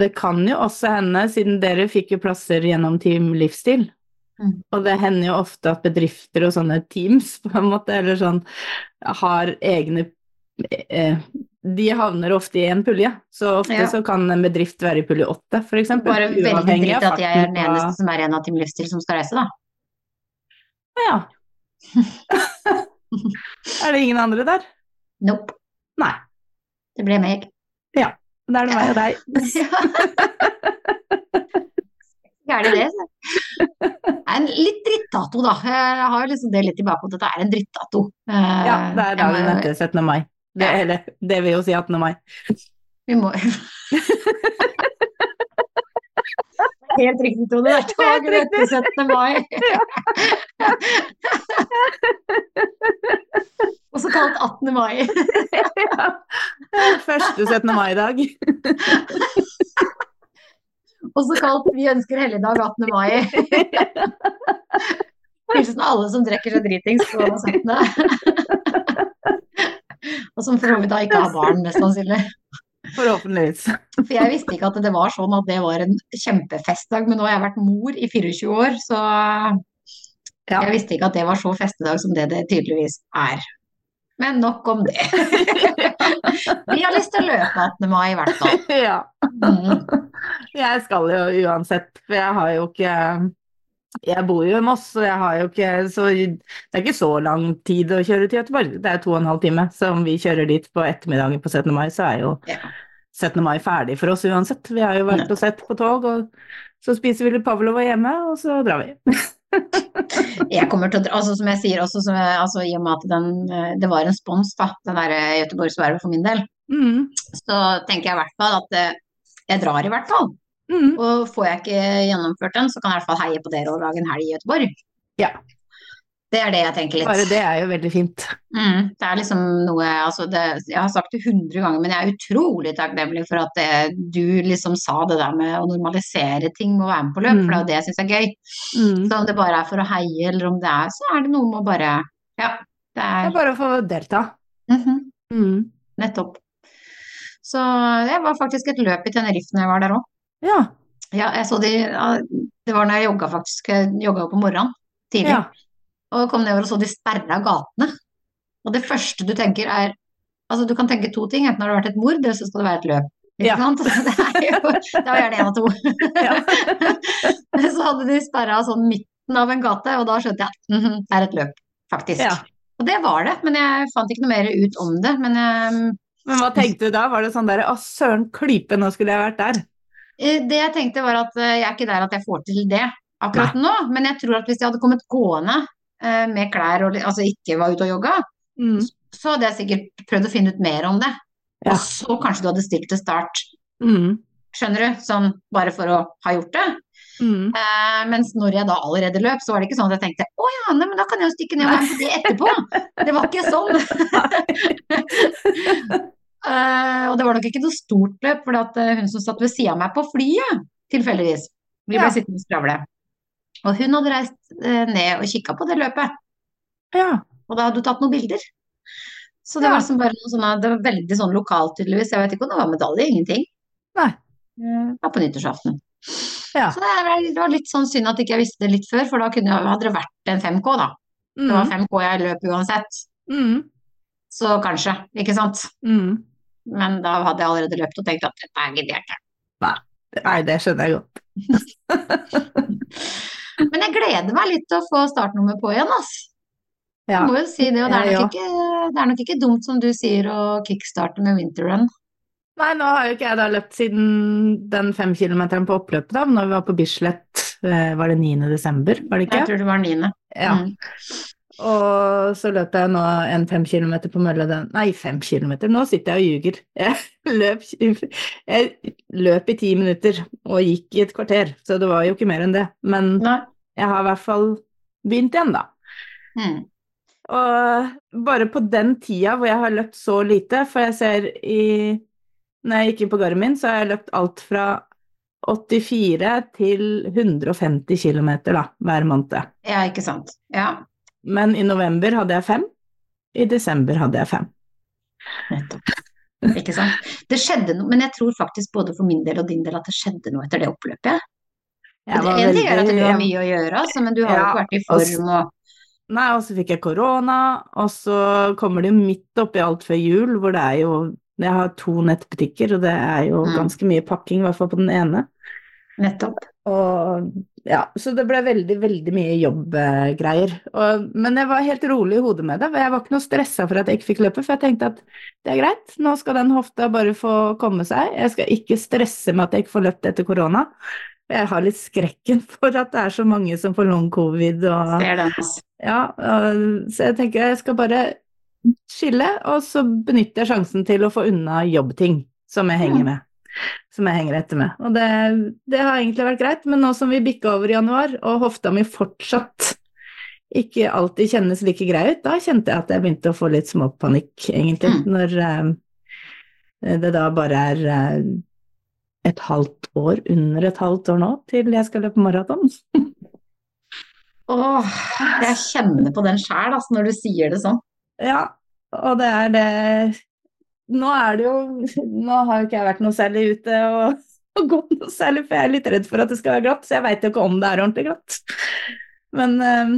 Speaker 3: det kan jo også hende, siden dere fikk jo plasser gjennom Team Livsstil,
Speaker 2: Mm.
Speaker 3: og det hender jo ofte at bedrifter og sånne teams, på en måte, eller sånn, har egne eh, De havner ofte i en pulje, så ofte
Speaker 2: Ja.
Speaker 3: så kan en bedrift være i pulje åtte, for eksempel.
Speaker 2: Bare veldig
Speaker 3: uavhengig av
Speaker 2: dritt at jeg er den
Speaker 3: farten på-
Speaker 2: eneste som er en av Team Livsstil som skal reise, da.
Speaker 3: Ja. er det ingen andre der?
Speaker 2: Nope.
Speaker 3: Nei.
Speaker 2: Det ble meg.
Speaker 3: Da er det meg og deg.
Speaker 2: Gærlig det. så. altså. Det er en litt drittdato, da. Jeg har jo liksom det litt i bakhodet. Dette er en drittdato. Eh,
Speaker 3: Ja, det er
Speaker 2: jeg
Speaker 3: dagen
Speaker 2: må-
Speaker 3: etter 17. mai. Det,
Speaker 2: Ja.
Speaker 3: eller, det vil jo si 18. mai.
Speaker 2: Vi må Helt riktig, Tone. Det er dagen etter 17. mai. Også kalt 18. mai.
Speaker 3: Første 17. mai-dag.
Speaker 2: Også kalt Vi ønsker helligdag 18. mai. Hilsen alle som drikker seg dritings på 17. Og som for så vidt da ikke har barn, mest sannsynlig.
Speaker 3: Forhåpentligvis.
Speaker 2: For jeg visste ikke at det var sånn at det var en kjempefestdag, men nå har jeg vært mor i 24 år, så
Speaker 3: Ja.
Speaker 2: jeg visste ikke at det var så festedag som det det tydeligvis er. Men nok om det. Vi har lyst til å løpe 18. mai i hvert fall.
Speaker 3: Ja.
Speaker 2: Mm.
Speaker 3: Jeg skal jo uansett, for jeg har jo ikke Jeg bor jo i Moss, og jeg har jo ikke så Det er ikke så lang tid å kjøre til Göteborg. Det er to og en halv time. Så om vi kjører dit på ettermiddagen på 17. mai, så er jo
Speaker 2: Ja.
Speaker 3: 17. mai ferdig for oss uansett. Vi har jo vært og sett på tog, og så spiser vi litt Pavlova hjemme, og så drar vi.
Speaker 2: Jeg kommer til å, dra- altså som jeg sier også, som jeg, altså i og med at den, eh, det var en spons da, den der eh, Göteborgsvervet for min del,
Speaker 3: Mm,
Speaker 2: så tenker jeg i hvert fall at eh, jeg drar i hvert fall.
Speaker 3: mm.
Speaker 2: Og får jeg ikke gjennomført den, så kan jeg i hvert fall heie på dere og lage en helg i Göteborg.
Speaker 3: Ja.
Speaker 2: Det er det jeg tenker litt.
Speaker 3: Bare det er jo veldig fint.
Speaker 2: Mm, det er liksom noe altså det, Jeg har sagt det hundre ganger, men jeg er utrolig takknemlig for at det, du liksom sa det der med å normalisere ting med å være med på løp,
Speaker 3: Mm.
Speaker 2: for det er jo det jeg syns er gøy.
Speaker 3: Mm.
Speaker 2: Så om det bare er for å heie, eller om det er Så er det noe med å bare Ja, det
Speaker 3: Det
Speaker 2: er
Speaker 3: er bare å få delta.
Speaker 2: mhm,
Speaker 3: Mm.
Speaker 2: Nettopp. Så det var faktisk et løp i Tenerife når jeg var der òg.
Speaker 3: Ja.
Speaker 2: Ja, jeg så de ja, Det var når jeg jogga faktisk. Jeg jogga på morgenen tidlig.
Speaker 3: ja.
Speaker 2: Og kom nedover og så de sperra gatene. Og det første du tenker er Altså, du kan tenke to ting. Enten har det vært et mord, eller så skal det være et løp. Ikke
Speaker 3: Ja.
Speaker 2: sant? Det er jo det er jo gjerne én av to.
Speaker 3: ja.
Speaker 2: Men så hadde de sperra sånn midten av en gate, og da skjønte jeg at mhm, det er et løp, faktisk.
Speaker 3: ja.
Speaker 2: Og det var det, men jeg fant ikke noe mer ut om det. Men ehm, jeg
Speaker 3: Men hva tenkte du da? Var det sånn der Å, søren klype, nå skulle jeg vært der.
Speaker 2: Eh, Det jeg tenkte var at eh, jeg er ikke der at jeg får til det akkurat nå, men jeg tror at hvis jeg hadde kommet gående eh, med klær og li- altså ikke var ute og jogga,
Speaker 3: Mm.
Speaker 2: så hadde jeg sikkert prøvd å finne ut mer om det.
Speaker 3: Ja.
Speaker 2: Og så kanskje du hadde stilt til start,
Speaker 3: Mm.
Speaker 2: skjønner du, sånn bare for å ha gjort det.
Speaker 3: Mm.
Speaker 2: Eh, mens når jeg da allerede løp, så var det ikke sånn at jeg tenkte å ja, nei, men da kan jeg jo stikke ned og være med på det etterpå. Det var ikke sånn. Eh, og det var nok ikke noe stort løp, for at eh, hun som satt ved sida av meg på flyet, tilfeldigvis Vi ble
Speaker 3: Ja.
Speaker 2: sittende og skravle. Og hun hadde reist eh, ned og kikka på det løpet,
Speaker 3: Ja.
Speaker 2: og da hadde hun tatt noen bilder. Så det
Speaker 3: Ja.
Speaker 2: var liksom bare noe sånn, det var veldig sånn lokalt, tydeligvis. Jeg vet ikke om det var medalje, ingenting.
Speaker 3: Nei.
Speaker 2: Eh, Det var på nyttårsaften.
Speaker 3: Ja.
Speaker 2: Så det er- det var litt sånn synd at ikke jeg visste det litt før, for da kunne jeg, hadde det vært en 5K, da. Det var 5K jeg løp uansett,
Speaker 3: Mm,
Speaker 2: så kanskje, ikke sant.
Speaker 3: mm.
Speaker 2: Men da hadde jeg allerede løpt og tenkt at dette er gidder jeg ikke.
Speaker 3: Nei, det skjønner jeg godt.
Speaker 2: Men jeg gleder meg litt til å få startnummer på igjen, ass.
Speaker 3: Ja.
Speaker 2: Jeg må jo si det, og det er
Speaker 3: Jeg
Speaker 2: nok ikke, det er nok ikke dumt som du sier å kickstarte med winterrun.
Speaker 3: Nei, nå har jo ikke jeg da løpt siden den fem kilometeren på oppløpet, da, men når vi var på Bislett, eh, var det 9. desember, var det
Speaker 2: Jeg
Speaker 3: ikke?
Speaker 2: tror det var niende.
Speaker 3: Ja.
Speaker 2: Mm.
Speaker 3: Og så løp jeg nå en fem kilometer på Mølle den Nei, fem kilometer, nå sitter jeg og ljuger. Jeg løp, jeg løp i ti minutter og gikk i et kvarter, så det var jo ikke mer enn det. Men
Speaker 2: Nei.
Speaker 3: jeg har i hvert fall begynt igjen, da.
Speaker 2: Mm.
Speaker 3: Og bare på den tida hvor jeg har løpt så lite, for jeg ser i Når jeg gikk inn på Garmin, så har jeg løpt alt fra 84 til 150 km da, hver måned.
Speaker 2: Ja, ikke sant. Ja,
Speaker 3: Men i november hadde jeg fem. I desember hadde jeg fem.
Speaker 2: nettopp. Ikke sant. Det skjedde noe, men jeg tror faktisk både for min del og din del at det skjedde noe etter det oppløpet.
Speaker 3: Jeg
Speaker 2: det,
Speaker 3: var
Speaker 2: en ting er at du har
Speaker 3: jeg-
Speaker 2: mye å gjøre, altså, men du har jo
Speaker 3: Ja,
Speaker 2: ikke vært i
Speaker 3: altså-
Speaker 2: form og
Speaker 3: Nei, og så fikk jeg korona, og så kommer det jo midt oppi alt før jul, hvor det er jo Jeg har to nettbutikker, og det er jo
Speaker 2: Mm.
Speaker 3: ganske mye pakking, i hvert fall på den ene.
Speaker 2: Nettopp.
Speaker 3: Og ja, så det ble veldig, veldig mye jobbgreier. Og, men jeg var helt rolig i hodet med det. og Jeg var ikke noe stressa for at jeg ikke fikk løpe, for jeg tenkte at det er greit, nå skal den hofta bare få komme seg. Jeg skal ikke stresse med at jeg ikke får løpt etter korona. For Jeg har litt skrekken for at det er så mange som får long covid og
Speaker 2: Ser den. altså.
Speaker 3: ja, øh, så jeg tenker jeg skal bare skille, og så benytter jeg sjansen til å få unna jobbting som jeg henger med. Som jeg henger etter med. Og det, det har egentlig vært greit, men nå som vi bikka over i januar, og hofta mi fortsatt ikke alltid kjennes like grei ut, da kjente jeg at jeg begynte å få litt småpanikk, egentlig,
Speaker 2: Mm.
Speaker 3: når øh, det da bare er øh, et halvt år, under et halvt år nå, til jeg skal løpe maraton.
Speaker 2: Åh, jeg kjenner på den sjæl, altså, når du sier det sånn.
Speaker 3: Ja, og det er det Nå er det jo Nå har jo ikke jeg vært noe særlig ute og, og gått noe særlig, for jeg er litt redd for at det skal være glatt, så jeg veit jo ikke om det er ordentlig glatt. Men eh,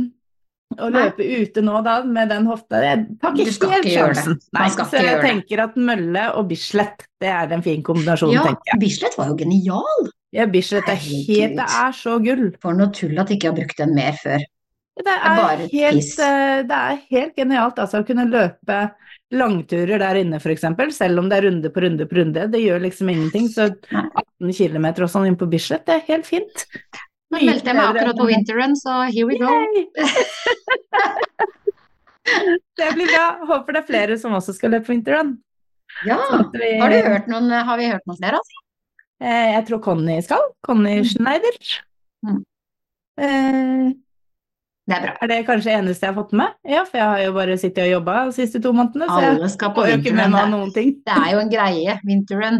Speaker 3: å
Speaker 2: Nei.
Speaker 3: løpe ute nå da med den hofta Jeg tar
Speaker 2: Du skal
Speaker 3: ikke helt
Speaker 2: ikke gjøre det.
Speaker 3: sjansen.
Speaker 2: Man
Speaker 3: Nei,
Speaker 2: skal
Speaker 3: så
Speaker 2: ikke
Speaker 3: jeg
Speaker 2: gjøre det.
Speaker 3: tenker at Mølle og Bislett, det er en fin kombinasjon,
Speaker 2: Ja,
Speaker 3: Sånn tenker jeg.
Speaker 2: Bislett var jo genial!
Speaker 3: Ja, Bislett er helt
Speaker 2: Herregud.
Speaker 3: Det er så gull.
Speaker 2: For noe tull at jeg ikke har brukt den mer før.
Speaker 3: Det er,
Speaker 2: bare
Speaker 3: helt,
Speaker 2: piss.
Speaker 3: eh, det er helt genialt altså, å kunne løpe langturer der inne f.eks., selv om det er runde på runde på runde. Det gjør liksom ingenting. Så
Speaker 2: Nei.
Speaker 3: 18 km og sånn inn på Bislett, det er helt fint.
Speaker 2: Nå meldte jeg meg akkurat på winterrun, så here we go.
Speaker 3: Yay! Det blir bra. Håper det er flere som også skal løpe vinterrun.
Speaker 2: Ja, Eh,
Speaker 3: At vi-
Speaker 2: Ah, har, du hørt noen, har vi hørt noen flere? Altså?
Speaker 3: Eh, jeg tror Conny skal. Conny
Speaker 2: Mm.
Speaker 3: Schneider.
Speaker 2: Mm.
Speaker 3: Eh,
Speaker 2: Det er bra.
Speaker 3: er det kanskje eneste jeg har fått med? Ja, for jeg har jo bare sittet og jobba de siste to månedene, så jeg
Speaker 2: Alle skal på
Speaker 3: Får jo ikke med
Speaker 2: vinterrun.
Speaker 3: meg
Speaker 2: Det,
Speaker 3: noen ting.
Speaker 2: det er jo en greie, vinterrun.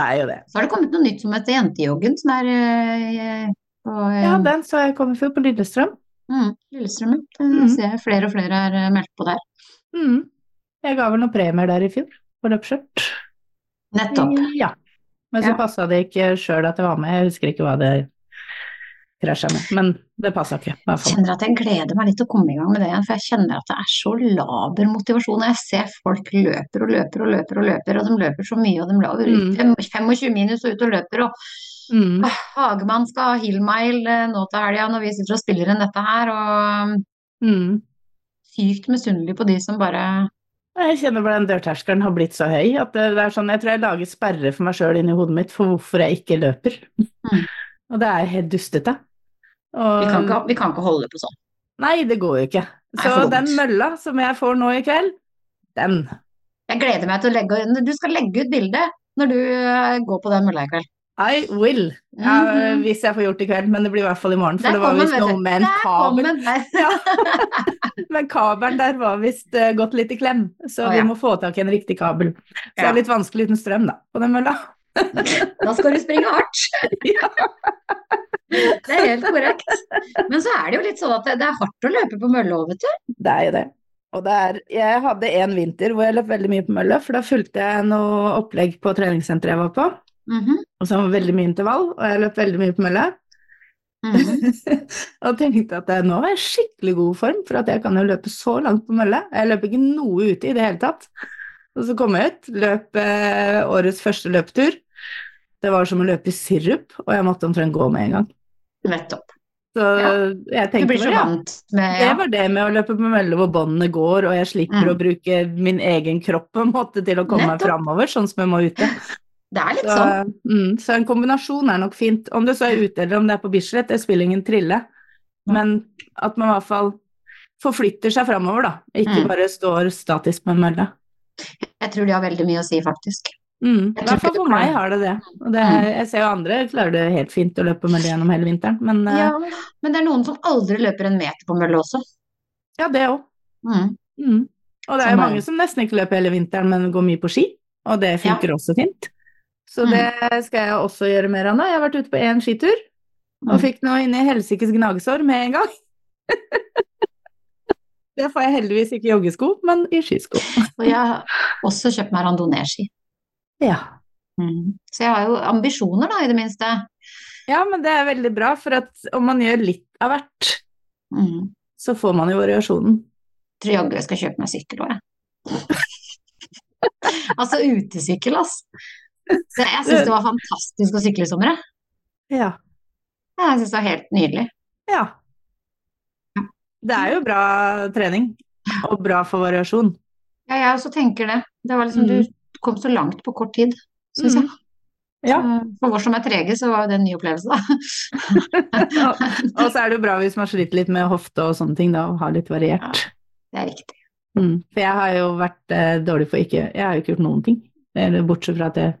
Speaker 3: Det er jo det.
Speaker 2: Så har det kommet noe nytt som heter jentejoggen, som er eh, på eh,
Speaker 3: Ja, den så jeg komme før på Lillestrøm.
Speaker 2: mm, Lillestrøm. ja. Det
Speaker 3: Mhm.
Speaker 2: ser jeg flere og flere er eh, meldt på der.
Speaker 3: Mm. Jeg ga vel noen premier der i fjor, på løpsskjørt.
Speaker 2: Nettopp.
Speaker 3: Ja. Men så
Speaker 2: Ja.
Speaker 3: passa det ikke sjøl at jeg var med, jeg husker ikke hva det krasja med. Men det passa ikke, i hvert
Speaker 2: Jeg
Speaker 3: fall.
Speaker 2: kjenner at jeg gleder meg litt til å komme i gang med det igjen, for jeg kjenner at det er så laber motivasjon. og Jeg ser folk løper og løper og løper og løper, og de løper så mye, og de løper
Speaker 3: Mm.
Speaker 2: fem- 25 minus og ut og løper, og
Speaker 3: Mm.
Speaker 2: Åh, Hagemann skal ha Hillmile eh, nå til helga når vi sitter og spiller inn dette her, og mm,
Speaker 3: Mm.
Speaker 2: sykt misunnelig på de som bare
Speaker 3: Jeg kjenner bare den dørterskelen har blitt så høy at det, det er sånn, jeg tror jeg lager sperre for meg sjøl inni hodet mitt for hvorfor jeg ikke løper.
Speaker 2: Mm.
Speaker 3: Og det er helt dustete. Og
Speaker 2: Vi kan ikke, vi kan ikke holde på sånn.
Speaker 3: Nei, det går jo ikke.
Speaker 2: Nei,
Speaker 3: Så
Speaker 2: for dumt.
Speaker 3: den mølla som jeg får nå i kveld, den.
Speaker 2: Jeg gleder meg til å legge Du skal legge ut bilde når du eh, går på den mølla i kveld.
Speaker 3: I will. Ja, eh,
Speaker 2: Mhm.
Speaker 3: Hvis jeg får gjort i kveld, men det blir i hvert fall i morgen. For
Speaker 2: Der
Speaker 3: det var
Speaker 2: kom den,
Speaker 3: visst
Speaker 2: vet du.
Speaker 3: noe med en
Speaker 2: Der kom
Speaker 3: kabel.
Speaker 2: den. Nei.
Speaker 3: Ja. men kabelen der var visst eh, gått litt i klem, så
Speaker 2: Å,
Speaker 3: vi
Speaker 2: ja.
Speaker 3: må få tak i en riktig kabel. Så det
Speaker 2: Ja.
Speaker 3: er litt vanskelig uten strøm, da, på den mølla.
Speaker 2: Da skal du springe hardt.
Speaker 3: Ja.
Speaker 2: Det er helt korrekt. Men så er det jo litt sånn at det, det er hardt å løpe på mølla òg, vet du.
Speaker 3: Det er jo det. Og det er, jeg hadde en vinter hvor jeg løp veldig mye på mølla, for da fulgte jeg noe opplegg på treningssenteret jeg var på.
Speaker 2: Mhm.
Speaker 3: Og så var det veldig mye intervall, og jeg løp veldig mye på mølle.
Speaker 2: Mhm.
Speaker 3: Og tenkte at eh, nå er jeg i skikkelig god form, for at jeg kan jo løpe så langt på mølle. Jeg løper ikke noe ute i det hele tatt. Og så kom jeg ut, løp eh, årets første løpetur. Det var som å løpe i sirup, og jeg måtte omtrent gå med en gang.
Speaker 2: Nettopp.
Speaker 3: Så jeg
Speaker 2: Du
Speaker 3: tenkte
Speaker 2: blir så
Speaker 3: bare, ja,
Speaker 2: vant med
Speaker 3: det
Speaker 2: ja.
Speaker 3: var det med å løpe på mølle hvor båndene går, og jeg slipper
Speaker 2: Mm.
Speaker 3: å bruke min egen kropp på en måte til å komme meg
Speaker 2: Nettopp.
Speaker 3: framover, sånn som jeg må ute.
Speaker 2: Det er litt
Speaker 3: Så,
Speaker 2: sånn.
Speaker 3: mm, så en kombinasjon er nok fint. Om det så er ute eller om det er på Bislett, det spiller ingen trille. Men at man i hvert fall forflytter seg framover, da. Ikke
Speaker 2: Mm.
Speaker 3: bare står statisk med en mølle.
Speaker 2: Jeg tror de har veldig mye å si, faktisk.
Speaker 3: Mm.
Speaker 2: Jeg
Speaker 3: I
Speaker 2: tror
Speaker 3: hvert
Speaker 2: ikke
Speaker 3: fall
Speaker 2: du
Speaker 3: for meg
Speaker 2: klarer- Mm.
Speaker 3: har det det. Og det er, jeg ser jo andre klarer det helt fint å løpe mølle gjennom hele vinteren, men eh,
Speaker 2: Ja, men det er noen som aldri løper en meter på mølle også.
Speaker 3: ja, det òg.
Speaker 2: Mm.
Speaker 3: Mm. Og det er
Speaker 2: Som
Speaker 3: jo
Speaker 2: bare-
Speaker 3: mange som nesten ikke løper hele vinteren, men går mye på ski. Og det funker også fint. Så
Speaker 2: Mm.
Speaker 3: det skal jeg også gjøre mer av nå. Jeg har vært ute på én skitur, og
Speaker 2: Mm.
Speaker 3: fikk nå inn i helsikes gnagsår med en gang. det får jeg heldigvis ikke i joggesko, men i skisko.
Speaker 2: Og jeg har også kjøpt meg randonee-ski.
Speaker 3: Ja.
Speaker 2: Mm. Så jeg har jo ambisjoner, da, i det minste.
Speaker 3: ja, men det er veldig bra, for at om man gjør litt av hvert,
Speaker 2: Mm.
Speaker 3: så får man jo variasjonen.
Speaker 2: Tror jaggu jeg skal kjøpe meg sykkel òg, jeg. altså utesykkel, ass. Så jeg syns det var fantastisk å sykle i sommer, jeg.
Speaker 3: Ja.
Speaker 2: Jeg syns det var helt nydelig.
Speaker 3: ja. Det er jo bra trening, og bra for variasjon.
Speaker 2: Ja, jeg også tenker det. Det var liksom,
Speaker 3: Mm.
Speaker 2: Du kom så langt på kort tid, syns jeg.
Speaker 3: Ja.
Speaker 2: Så For oss som er trege, så var jo det en ny opplevelse, da.
Speaker 3: og, og så er det jo bra hvis man sliter litt med hofte og sånne ting, da, og har litt variert.
Speaker 2: Det er riktig.
Speaker 3: Mm. For jeg har jo vært eh, dårlig for ikke Jeg har jo ikke gjort noen ting. Eller bortsett fra at jeg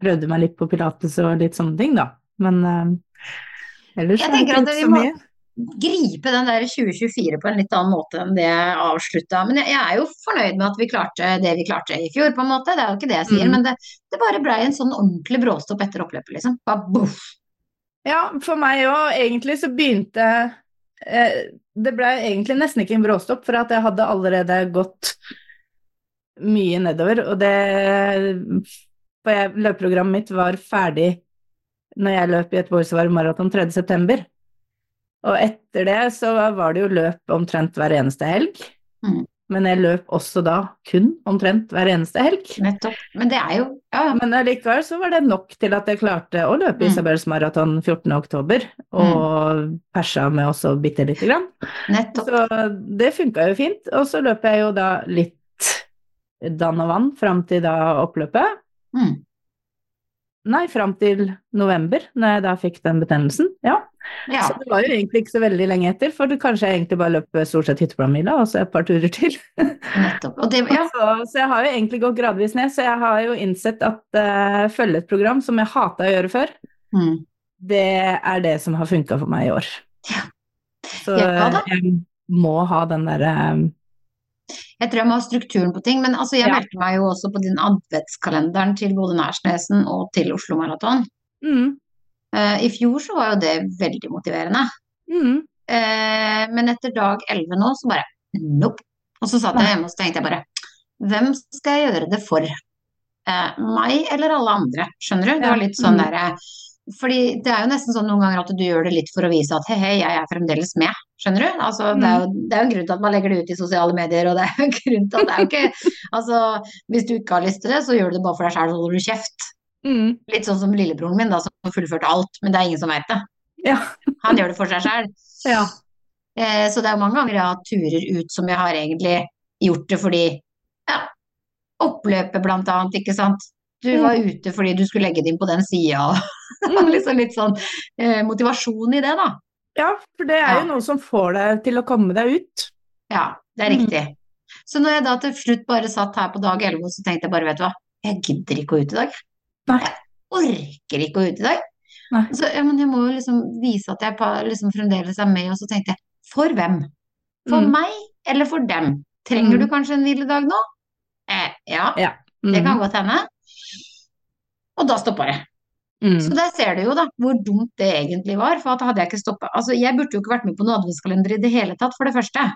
Speaker 3: prøvde meg litt på pilates og litt sånne ting, da. Men eh, ellers
Speaker 2: Jeg
Speaker 3: har jeg ikke
Speaker 2: tenker at
Speaker 3: gjort
Speaker 2: vi
Speaker 3: så
Speaker 2: må-
Speaker 3: mye.
Speaker 2: Gripe den der 2024 på en litt annen måte enn det jeg avslutta. Men jeg, jeg er jo fornøyd med at vi klarte det vi klarte i fjor, på en måte. Det er jo ikke det jeg sier,
Speaker 3: Mm.
Speaker 2: men det, det bare blei en sånn ordentlig bråstopp etter oppløpet, liksom. Bare boff.
Speaker 3: Ja, for meg òg. Egentlig så begynte eh, Det ble egentlig nesten ikke en bråstopp, for at jeg hadde allerede gått mye nedover. Og det for jeg, Løpeprogrammet mitt var ferdig når jeg løp i Göteborgsvarm maraton 3.9. Og etter det så var det jo løp omtrent hver eneste helg.
Speaker 2: Mhm.
Speaker 3: Men jeg løp også da kun omtrent hver eneste helg.
Speaker 2: Nettopp. Men det er jo ja, ja.
Speaker 3: Men allikevel så var det nok til at jeg klarte å løpe
Speaker 2: Mm.
Speaker 3: Isabels maraton 14. oktober, og persa med også bitte lite grann.
Speaker 2: nettopp.
Speaker 3: Så det funka jo fint. Og så løper jeg jo da litt dann og vann fram til da oppløpet.
Speaker 2: Mm.
Speaker 3: Nei, fram til november, når jeg da fikk den betennelsen. Ja.
Speaker 2: Ja.
Speaker 3: Så det var jo egentlig ikke så veldig lenge etter, for det kanskje jeg egentlig bare løp stort sett hytteplanmila og så et par turer til.
Speaker 2: Nettopp. Og det, ja,
Speaker 3: Så, så jeg har jo egentlig gått gradvis ned, så jeg har jo innsett at eh, følge et program som jeg hata å gjøre før,
Speaker 2: mm.
Speaker 3: det er det som har funka for meg i år.
Speaker 2: Ja.
Speaker 3: Så
Speaker 2: Ja da.
Speaker 3: jeg må ha den um, derre
Speaker 2: Jeg tror jeg må ha strukturen på ting, men altså jeg
Speaker 3: Ja.
Speaker 2: meldte meg jo også på din adventskalenderen til både Nærsnesen og til Oslo Maraton.
Speaker 3: mm,
Speaker 2: Eh, I fjor så var jo det veldig motiverende,
Speaker 3: mm,
Speaker 2: eh, men etter dag 11 nå så bare nope. Og så satt jeg hjemme og så tenkte jeg bare hvem skal jeg gjøre det for? Eh, meg eller alle andre, skjønner du? Det
Speaker 3: Ja.
Speaker 2: var litt sånn
Speaker 3: Mm.
Speaker 2: derre fordi det er jo nesten sånn noen ganger at du gjør det litt for å vise at hei, hei, jeg er fremdeles med. Skjønner du? Altså, det, er
Speaker 3: Mm.
Speaker 2: jo, det er jo en grunn til at man legger det ut i sosiale medier, og det er jo en grunn til at det er jo ikke Altså, hvis du ikke har lyst til det, så gjør du det bare for deg sjæl, så holder du kjeft.
Speaker 3: mm.
Speaker 2: Litt sånn som lillebroren min, da, som fullførte alt, men det er ingen som veit det.
Speaker 3: Ja.
Speaker 2: Han gjør det for seg sjæl.
Speaker 3: Ja.
Speaker 2: Eh, så det er jo mange ganger jeg har hatt turer ut som jeg har egentlig gjort det fordi ja, oppløpet blant annet, ikke sant. Du
Speaker 3: Mm.
Speaker 2: var ute fordi du skulle legge det inn på den sida, og
Speaker 3: Mm.
Speaker 2: liksom litt sånn eh, motivasjon i det, da.
Speaker 3: ja, for det er
Speaker 2: Ja.
Speaker 3: jo noe som får deg til å komme deg ut.
Speaker 2: Ja, det er
Speaker 3: Mm.
Speaker 2: riktig. Så når jeg da til slutt bare satt her på dag 11, så tenkte jeg bare, vet du hva, jeg gidder ikke å ut i dag.
Speaker 3: Nei.
Speaker 2: Jeg orker ikke å ut i dag.
Speaker 3: Nei.
Speaker 2: Så ja, men jeg må jo liksom vise at jeg pa- liksom fremdeles er med, og så tenkte jeg, for hvem? For
Speaker 3: Mm.
Speaker 2: meg eller for dem? Trenger
Speaker 3: Mm.
Speaker 2: du kanskje en hviledag nå? Eh, ja, det kan godt hende. Og da stoppa jeg. Så
Speaker 3: Mm.
Speaker 2: der ser du jo da hvor dumt det egentlig var. For at hadde jeg ikke stoppa Altså, jeg burde jo ikke vært med på noen adventskalender i det hele tatt, for det første.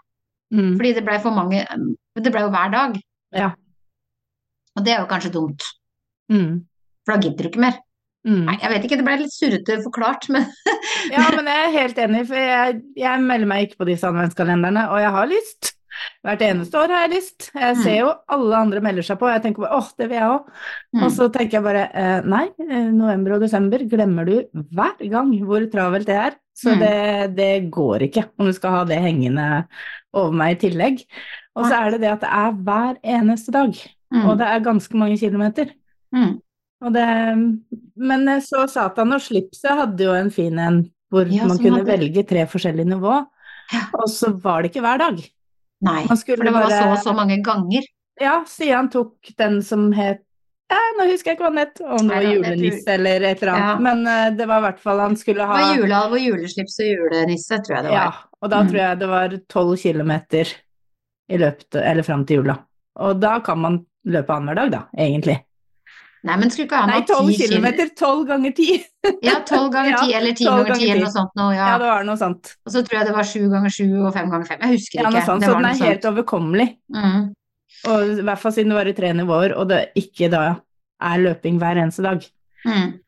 Speaker 3: Mm.
Speaker 2: Fordi det blei for mange Det blei jo hver dag.
Speaker 3: Ja.
Speaker 2: Og det er jo kanskje dumt,
Speaker 3: Mm.
Speaker 2: for da gidder du ikke mer.
Speaker 3: Mm.
Speaker 2: Nei, jeg vet ikke, det ble litt surrete forklart, men
Speaker 3: Ja, men jeg er helt enig, for jeg, jeg melder meg ikke på disse adventskalenderne, og jeg har lyst. Hvert eneste år har jeg lyst. Jeg ser jo alle andre melder seg på, og jeg tenker bare åh, det vil jeg òg. Og så tenker jeg bare eh, nei, eh, november og desember glemmer du hver gang hvor travelt det er. Så
Speaker 2: Mm.
Speaker 3: det, det går ikke om du skal ha det hengende over meg i tillegg. Og så er det det at det er hver eneste dag,
Speaker 2: Mm,
Speaker 3: og det er ganske mange kilometer.
Speaker 2: mm.
Speaker 3: Og det, men så Satan og slipset hadde jo en fin en hvor
Speaker 2: Ja,
Speaker 3: man
Speaker 2: som
Speaker 3: kunne
Speaker 2: hadde-
Speaker 3: velge tre forskjellige nivå,
Speaker 2: Ja.
Speaker 3: og så var det ikke hver dag.
Speaker 2: Nei,
Speaker 3: Man skulle
Speaker 2: for det var
Speaker 3: bare-
Speaker 2: så og så mange ganger.
Speaker 3: Ja, Stian tok den som het ja, Nå husker jeg ikke hva den het, om det
Speaker 2: Nei,
Speaker 3: var
Speaker 2: det- det tror-
Speaker 3: julenisse eller et eller annet,
Speaker 2: Ja.
Speaker 3: men eh, det var i hvert fall han skulle ha
Speaker 2: Det var julealv og juleslips og julenisse, tror jeg det
Speaker 3: Ja,
Speaker 2: var.
Speaker 3: og da
Speaker 2: Mm.
Speaker 3: tror jeg det var tolv kilometer i løpet, eller fram til jula. Og da kan man løpe annenhver dag, da, egentlig.
Speaker 2: Nei, men skulle ikke han
Speaker 3: Nei,
Speaker 2: ha
Speaker 3: tolv
Speaker 2: ti kilo?
Speaker 3: kilometer, tolv ganger ti!
Speaker 2: Ja, tolv ganger
Speaker 3: Ja,
Speaker 2: ti, eller ti
Speaker 3: 12
Speaker 2: ganger
Speaker 3: ganger
Speaker 2: ti,
Speaker 3: 10.
Speaker 2: eller noe sånt nå, ja.
Speaker 3: Ja, det var noe sånt.
Speaker 2: Og så tror jeg det var sju ganger sju og fem ganger fem. Jeg husker
Speaker 3: Ja,
Speaker 2: ikke.
Speaker 3: noe sånt.
Speaker 2: Det
Speaker 3: Så
Speaker 2: var
Speaker 3: den
Speaker 2: noe
Speaker 3: er
Speaker 2: sånt.
Speaker 3: helt overkommelig.
Speaker 2: Mm.
Speaker 3: Og i hvert fall siden det var i tre nivåer, og det ikke da er løping hver eneste dag.
Speaker 2: Mm.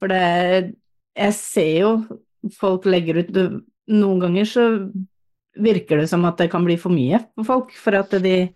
Speaker 3: For det Jeg ser jo folk legger ut det- Noen ganger så virker det som at det kan bli for mye for folk, for at de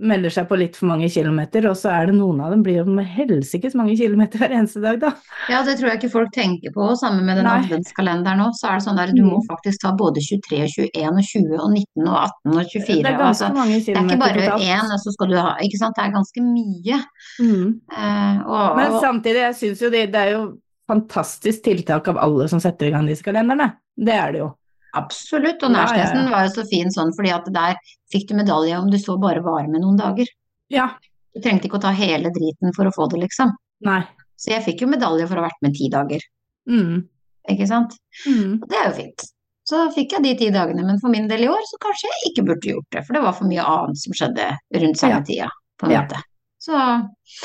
Speaker 3: melder seg på litt for mange kilometer, og så er det noen av dem blir jo med helsikes mange kilometer hver eneste dag, da.
Speaker 2: Ja, det tror jeg ikke folk tenker på. Sammen med den
Speaker 3: Nei. Mm.
Speaker 2: adventskalenderen nå, så er det sånn der du må faktisk ta både 23 og 21 og 20 og 19 og 18 og 24.
Speaker 3: Det er
Speaker 2: og altså,
Speaker 3: ganske mange
Speaker 2: det er
Speaker 3: kilometer
Speaker 2: ikke bare
Speaker 3: totalt.
Speaker 2: én, og så skal du ha Ikke sant, det er ganske mye.
Speaker 3: Mm.
Speaker 2: Eh, og,
Speaker 3: Men
Speaker 2: og,
Speaker 3: samtidig, jeg syns jo det, det er jo fantastisk tiltak av alle som setter i gang disse kalenderne. Det er det jo.
Speaker 2: absolutt. Og
Speaker 3: Ja, ja, ja.
Speaker 2: Nærsnesen var jo så fin sånn, fordi at der fikk du medalje om du så bare var med noen dager.
Speaker 3: Ja.
Speaker 2: Du trengte ikke å ta hele driten for å få det, liksom.
Speaker 3: Nei.
Speaker 2: Så jeg fikk jo medalje for å ha vært med ti dager,
Speaker 3: Mm.
Speaker 2: ikke sant.
Speaker 3: Mm.
Speaker 2: Og det er jo fint. Så fikk jeg de ti dagene, men for min del i år så kanskje jeg ikke burde gjort det, for det var for mye annet som skjedde rundt samme
Speaker 3: Ja.
Speaker 2: tida, på en
Speaker 3: Ja.
Speaker 2: måte. Så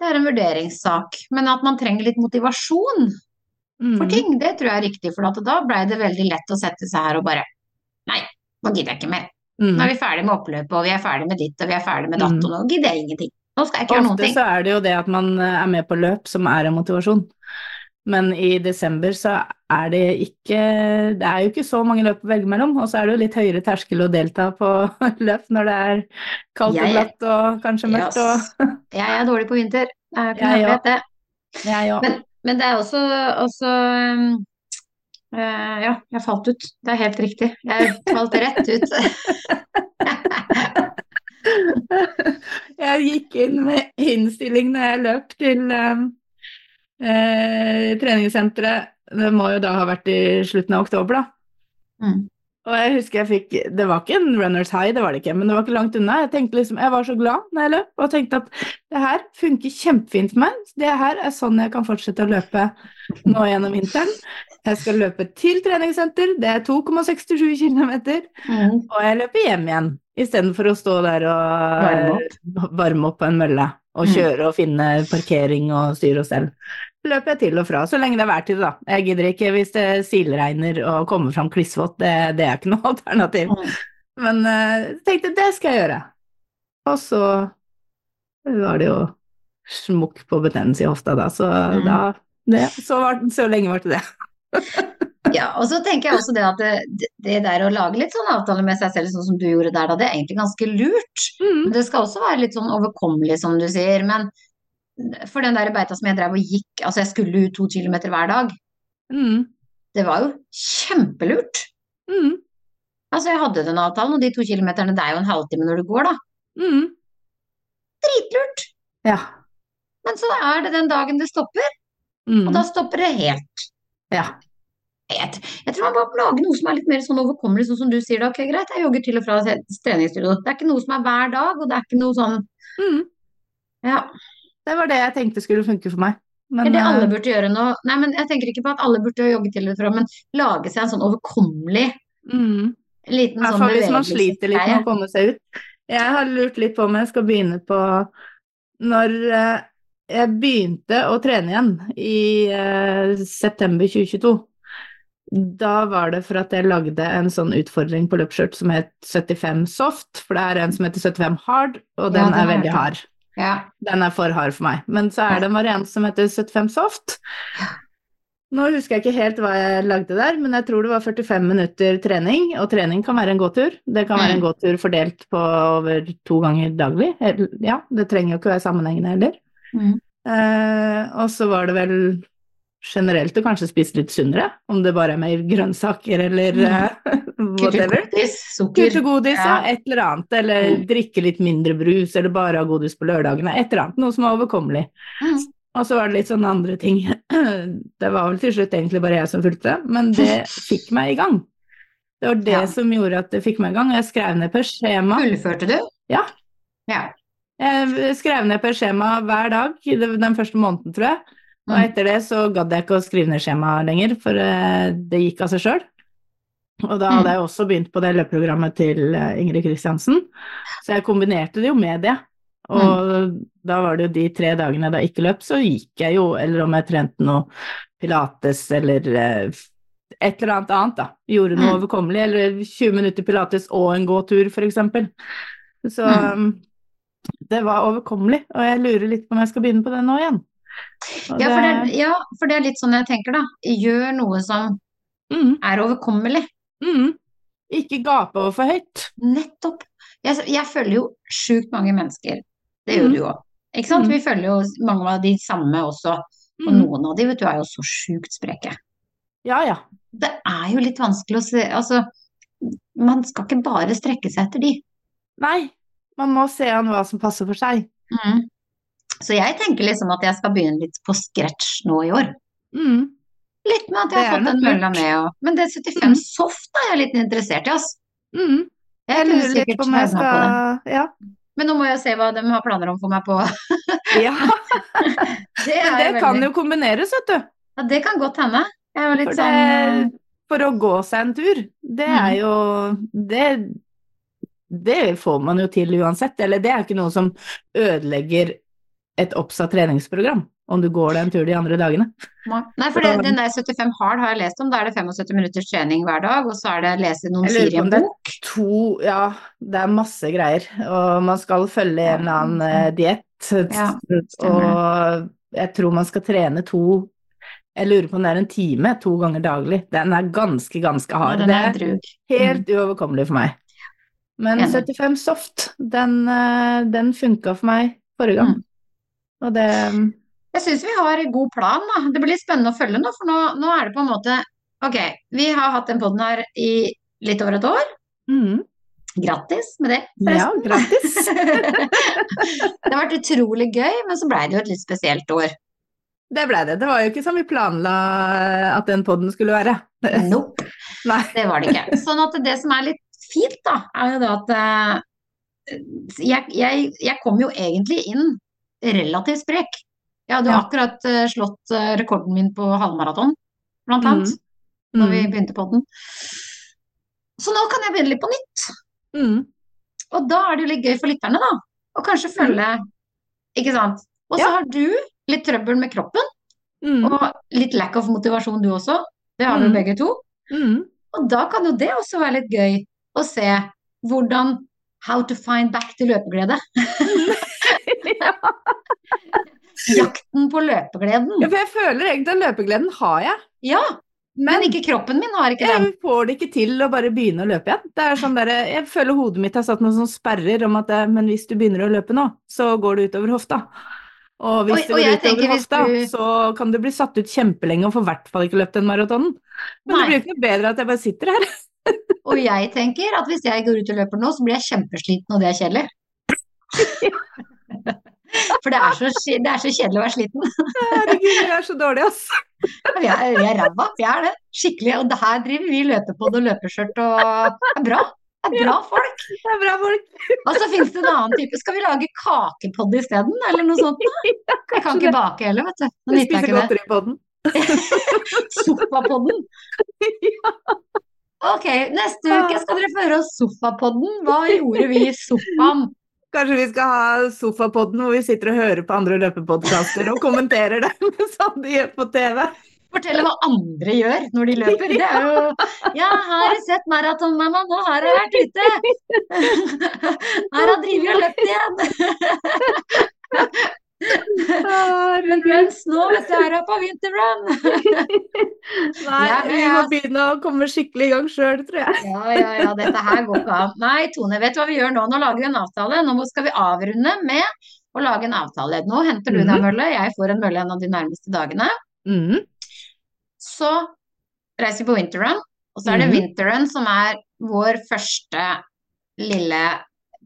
Speaker 2: det er en vurderingssak. Men at man trenger litt motivasjon
Speaker 3: Mm.
Speaker 2: for ting, det tror jeg er riktig, for at da blei det veldig lett å sette seg her og bare Nei, nå gidder jeg ikke mer.
Speaker 3: Mm.
Speaker 2: Nå er vi ferdig med oppløpet, og vi er ferdig med ditt, og vi er ferdig med
Speaker 3: Mm.
Speaker 2: datt, og nå gidder jeg ingenting. Nå skal jeg ikke gjøre noen
Speaker 3: Ofte
Speaker 2: ting.
Speaker 3: så er det jo det at man eh, er med på løp som er en motivasjon. Men i desember så er det ikke Det er jo ikke så mange løp å velge mellom, og så er det jo litt høyere terskel å delta på løp når det er kaldt og
Speaker 2: Jeg-
Speaker 3: glatt og kanskje mørkt og
Speaker 2: Yes. Jeg er dårlig på vinter. Det er jo ikke
Speaker 3: Jeg
Speaker 2: noe hemmelighet, det.
Speaker 3: Jeg òg.
Speaker 2: Men det er også, også um, eh, Ja, jeg falt ut. Det er helt riktig. Jeg falt rett ut.
Speaker 3: Jeg gikk inn med innstilling når jeg løp til eh, eh, treningssenteret. Det må jo da ha vært i slutten av oktober, da.
Speaker 2: Mm.
Speaker 3: Og jeg husker jeg fikk Det var ikke en runners high, det var det ikke, men det var ikke langt unna. Jeg tenkte liksom, jeg var så glad når jeg løp, og tenkte at det her funker kjempefint for meg. Det her er sånn jeg kan fortsette å løpe nå gjennom vinteren. Jeg skal løpe til treningssenter, det er 2,67 km,
Speaker 2: Mm.
Speaker 3: og jeg løper hjem igjen. Istedenfor å stå der og eh,
Speaker 2: Varme opp.
Speaker 3: varme opp på en mølle og
Speaker 2: Mm.
Speaker 3: kjøre og finne parkering og styre og stell. Løper jeg til og fra, så lenge det er værtid, da. Jeg gidder ikke hvis det silregner og kommer fram klissvått, det, det er ikke noe alternativ.
Speaker 2: Mm.
Speaker 3: Men eh, tenkte det skal jeg gjøre. Og så var det jo smukk på betennelse i hofta da, så
Speaker 2: Mm.
Speaker 3: da det, så, var, så lenge var det det.
Speaker 2: Ja, og så tenker jeg også det at det, det der å lage litt sånn avtale med seg selv, sånn som du gjorde der, da, det er egentlig ganske lurt. Men
Speaker 3: Mm.
Speaker 2: Det skal også være litt sånn overkommelig, som du sier. Men for den der beita som jeg drev og gikk, altså jeg skulle ut to kilometer hver dag,
Speaker 3: Mm.
Speaker 2: det var jo kjempelurt.
Speaker 3: Mm.
Speaker 2: Altså jeg hadde den avtalen, og de to kilometerne, det er jo en halvtime når du går, da.
Speaker 3: Mm.
Speaker 2: Dritlurt.
Speaker 3: Ja.
Speaker 2: Men så er det den dagen det stopper,
Speaker 3: Mm.
Speaker 2: og da stopper det helt.
Speaker 3: ja.
Speaker 2: Jeg, jeg tror man må lage noe som er litt mer sånn overkommelig, sånn som du sier. da, Ok, greit, jeg jogger til og fra se- treningsstudio. Det er ikke noe som er hver dag, og det er ikke noe sånn
Speaker 3: Mm.
Speaker 2: Ja.
Speaker 3: Det var det jeg tenkte skulle funke for meg. Men,
Speaker 2: Det alle
Speaker 3: eh,
Speaker 2: burde gjøre nå Nei, men jeg tenker ikke på at alle burde jogge til og fra, men lage seg en sånn overkommelig
Speaker 3: mm.
Speaker 2: liten
Speaker 3: I hvert
Speaker 2: sånn
Speaker 3: fall hvis man
Speaker 2: bevegelse.
Speaker 3: sliter litt med
Speaker 2: Nei,
Speaker 3: å komme seg ut. Jeg har lurt litt på om jeg skal begynne på Når eh, jeg begynte å trene igjen i eh, september 2022, da var det for at jeg lagde en sånn utfordring på løpsskjørt som het 75 soft, for det er en som heter 75 hard, og
Speaker 2: Ja,
Speaker 3: den
Speaker 2: den
Speaker 3: er
Speaker 2: har jeg hørt
Speaker 3: veldig
Speaker 2: om.
Speaker 3: hard.
Speaker 2: Ja.
Speaker 3: Den er for hard for meg. Men så er det en variant som heter 75 soft. Nå husker jeg ikke helt hva jeg lagde der, men jeg tror det var 45 minutter trening. Og trening kan være en gåtur. Det kan være en gåtur fordelt på over to ganger daglig. Eller- Ja, det trenger jo ikke være sammenhengende heller.
Speaker 2: Mm.
Speaker 3: Eh, og så var det vel generelt å kanskje spise litt sunnere, om det bare er mer grønnsaker eller eh, whatever.
Speaker 2: Kurtegodis,
Speaker 3: Kult
Speaker 2: sukker.
Speaker 3: og godis, ja.
Speaker 2: Ja.
Speaker 3: Et eller annet. Eller
Speaker 2: Mm.
Speaker 3: drikke litt mindre brus, eller bare ha godis på lørdagene. Et eller annet. Noe som er overkommelig.
Speaker 2: Mm.
Speaker 3: Og så var det litt sånne andre ting. Det var vel til slutt egentlig bare jeg som fulgte, men det fikk meg i gang. Det var det
Speaker 2: Ja.
Speaker 3: som gjorde at det fikk meg i gang. Jeg skrev ned på skjema.
Speaker 2: Fullførte du?
Speaker 3: Ja.
Speaker 2: Ja.
Speaker 3: Jeg skrev ned på skjema hver dag i det- den første måneden, tror jeg. Og
Speaker 2: Mm.
Speaker 3: etter det så gadd jeg ikke å skrive ned skjema lenger, for eh, det gikk av seg sjøl. Og da hadde
Speaker 2: Mm.
Speaker 3: jeg også begynt på det løpeprogrammet til eh, Ingrid Kristiansen, så jeg kombinerte det jo med det. Og
Speaker 2: Mm.
Speaker 3: da var det jo de tre dagene jeg da ikke løp, så gikk jeg jo, eller om jeg trente noe pilates eller eh, et eller annet annet, da. Gjorde noe
Speaker 2: Mm.
Speaker 3: overkommelig, eller 20 minutter pilates og en gåtur, for eksempel. Så
Speaker 2: Mm.
Speaker 3: um, det var overkommelig, og jeg lurer litt på om jeg skal begynne på det nå igjen. Og
Speaker 2: Ja, for det, er- ja, for det er litt sånn jeg tenker, da. Gjør noe som
Speaker 3: Mm,
Speaker 2: er overkommelig.
Speaker 3: mm. Ikke gape over for høyt.
Speaker 2: Nettopp. Jeg, jeg følger jo sjukt mange mennesker. Det gjør
Speaker 3: Mm.
Speaker 2: du jo òg. Ikke sant?
Speaker 3: Mm.
Speaker 2: Vi følger jo mange av de samme også. Og
Speaker 3: Mm.
Speaker 2: noen av de, vet du, er jo så sjukt spreke.
Speaker 3: Ja, ja.
Speaker 2: Det er jo litt vanskelig å se Altså, man skal ikke bare strekke seg etter de.
Speaker 3: Nei, man må se an hva som passer for seg.
Speaker 2: Mm. Så jeg tenker liksom at jeg skal begynne litt på scratch nå i år.
Speaker 3: Mm.
Speaker 2: Litt med at jeg
Speaker 3: Det
Speaker 2: har
Speaker 3: er
Speaker 2: fått
Speaker 3: nok
Speaker 2: en
Speaker 3: lurt.
Speaker 2: mølla med og Men det 75
Speaker 3: Mm.
Speaker 2: soft er jeg litt interessert i, ass.
Speaker 3: Mm.
Speaker 2: Jeg
Speaker 3: Jeg
Speaker 2: kunne
Speaker 3: lurer litt
Speaker 2: sikkert
Speaker 3: på om jeg
Speaker 2: havna på den.
Speaker 3: skal Ja.
Speaker 2: Men nå må jeg se hva de har planer om for meg på
Speaker 3: ja.
Speaker 2: Det, er
Speaker 3: Men
Speaker 2: jo
Speaker 3: det kan
Speaker 2: veldig-
Speaker 3: jo kombineres, vet du.
Speaker 2: ja, det kan godt hende. Jeg er Mhm. jo litt
Speaker 3: For,
Speaker 2: sånn eh,
Speaker 3: det, for å gå seg en tur, det er jo det, det får man jo til uansett. Eller det er ikke noe som ødelegger et oppsatt treningsprogram, om du går deg en tur de andre dagene.
Speaker 2: Nei, for det, den der 75 hard har jeg lest om. Da er det 75 minutters trening hver dag, og så er det lese noen
Speaker 3: Jeg lurer
Speaker 2: sider
Speaker 3: på
Speaker 2: i
Speaker 3: om
Speaker 2: en
Speaker 3: det er
Speaker 2: bok.
Speaker 3: To Ja, det er masse greier. Og man skal følge en eller annen eh, diett.
Speaker 2: Ja,
Speaker 3: og jeg tror man skal trene to Jeg lurer på om det er en time to ganger daglig. Den er ganske, ganske
Speaker 2: Ja,
Speaker 3: hard.
Speaker 2: den
Speaker 3: Det-
Speaker 2: er drug.
Speaker 3: Helt uoverkommelig for meg. Men
Speaker 2: Mm. Enig.
Speaker 3: 75 soft, den, eh, den funka for meg forrige gang.
Speaker 2: Mm.
Speaker 3: Og det
Speaker 2: Jeg syns vi har en god plan, da. Det blir spennende å følge nå, for nå, nå er det på en måte Ok, vi har hatt den poden her i litt over et år.
Speaker 3: mm,
Speaker 2: Grattis med det,
Speaker 3: Ja,
Speaker 2: forresten.
Speaker 3: grattis.
Speaker 2: det har vært utrolig gøy, men så blei det jo et litt spesielt år.
Speaker 3: Det blei det. Det var jo ikke som vi planla eh, at den poden skulle være.
Speaker 2: Nope,
Speaker 3: Nei.
Speaker 2: det var det ikke. Sånn at det som er litt fint, da, er jo det at eh, jeg, jeg, jeg kom jo egentlig inn relativt sprek. Jeg hadde jo
Speaker 3: Ja.
Speaker 2: akkurat eh, slått eh, rekorden min på halvmaraton, blant annet, når vi
Speaker 3: Mm,
Speaker 2: begynte på den. Så nå kan jeg begynne litt på nytt.
Speaker 3: mm.
Speaker 2: Og da er det jo litt gøy for lytterne, da. Å kanskje følge, ikke sant. Og så
Speaker 3: Ja.
Speaker 2: har du litt trøbbel med kroppen.
Speaker 3: Mm,
Speaker 2: Og litt lack of motivasjon du også. Det har vi
Speaker 3: Mm.
Speaker 2: jo begge to.
Speaker 3: mm.
Speaker 2: Og da kan jo det også være litt gøy å se hvordan How to find back to løpeglede.
Speaker 3: Ja,
Speaker 2: Jakten på løpegleden.
Speaker 3: for jeg føler egentlig at løpegleden har jeg,
Speaker 2: Ja, men
Speaker 3: men
Speaker 2: ikke kroppen min har ikke den.
Speaker 3: jeg får det ikke til å bare begynne å løpe igjen. Det er sånn der, jeg føler hodet mitt har satt noen sånne sperrer om at eh, men hvis du begynner å løpe nå, så går det utover hofta. Og hvis
Speaker 2: Og-
Speaker 3: det
Speaker 2: og
Speaker 3: går
Speaker 2: jeg
Speaker 3: utover
Speaker 2: tenker hvis
Speaker 3: hofta,
Speaker 2: du-
Speaker 3: så kan du bli satt ut kjempelenge og får i hvert fall ikke løpt den maratonen. Men det
Speaker 2: Nei.
Speaker 3: blir jo ikke noe bedre at jeg bare sitter her.
Speaker 2: Og jeg tenker at hvis jeg går ut og løper nå, så blir jeg kjempesliten, og det er kjedelig. For det er så, kje- det er så kjedelig å være sliten.
Speaker 3: Herregud, jeg er så dårlig, altså.
Speaker 2: Vi er, vi er ræva. Vi er det. Skikkelig. Og det her driver vi løpepod og løpeskjørt og Det er bra. Det er bra folk.
Speaker 3: Det er bra folk.
Speaker 2: Og så finnes det en annen type. Skal vi lage kakepodd isteden, eller noe sånt? da? Jeg kan
Speaker 3: kanskje
Speaker 2: ikke bake heller, vet du. Nå
Speaker 3: Vi
Speaker 2: nytter jeg
Speaker 3: spiser
Speaker 2: ikke det.
Speaker 3: godteri på den.
Speaker 2: Sofapodden. Ok, neste uke skal dere få høre om Sofapodden. Hva gjorde vi i sofaen?
Speaker 3: Kanskje vi skal ha sofapodden hvor vi sitter og hører på andre løpepodkaster og kommenterer dem som de gjør på TV.
Speaker 2: Fortell hva andre gjør når de løper. Det er jo Ja, her har jeg sett maratonmamma, nå har jeg vært ute. Her har jeg drevet og løpt igjen. Men mens nå, vet du, er jeg på vinterrun!
Speaker 3: Nei,
Speaker 2: Ja,
Speaker 3: vi må
Speaker 2: ja.
Speaker 3: begynne å komme skikkelig i gang sjøl, tror jeg.
Speaker 2: Ja, ja, ja, dette her går ikke an. Nei, Tone, vet du hva vi gjør nå? Nå lager vi en avtale. Nå må- skal vi avrunde med å lage en avtale. Nå henter du deg en mølle, jeg får en mølle en av de nærmeste dagene.
Speaker 3: Mhm.
Speaker 2: Så reiser vi på Winterrun, og så er det
Speaker 3: Mhm.
Speaker 2: Winterrun som er vår første lille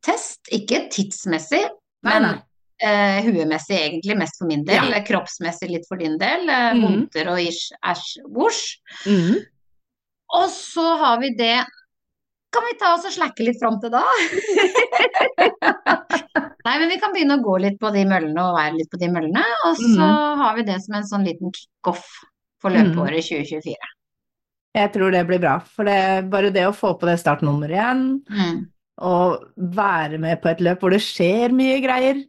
Speaker 2: test. Ikke tidsmessig,
Speaker 3: Nei,
Speaker 2: men
Speaker 3: nei.
Speaker 2: eh, huemessig egentlig, mest for min del.
Speaker 3: Ja.
Speaker 2: Kroppsmessig litt for din del. Eh,
Speaker 3: Mhm.
Speaker 2: Vondter og ish, æsj, vosj.
Speaker 3: Mhm.
Speaker 2: Og så har vi det Kan vi ta oss og slacke litt fram til da? Nei, men vi kan begynne å gå litt på de møllene og være litt på de møllene. Og så
Speaker 3: Mm.
Speaker 2: har vi det som en sånn liten kickoff for løpeåret
Speaker 3: Mm.
Speaker 2: 2024.
Speaker 3: Jeg tror det blir bra. For det, bare det å få på det startnummeret igjen,
Speaker 2: Mm.
Speaker 3: og være med på et løp hvor det skjer mye greier,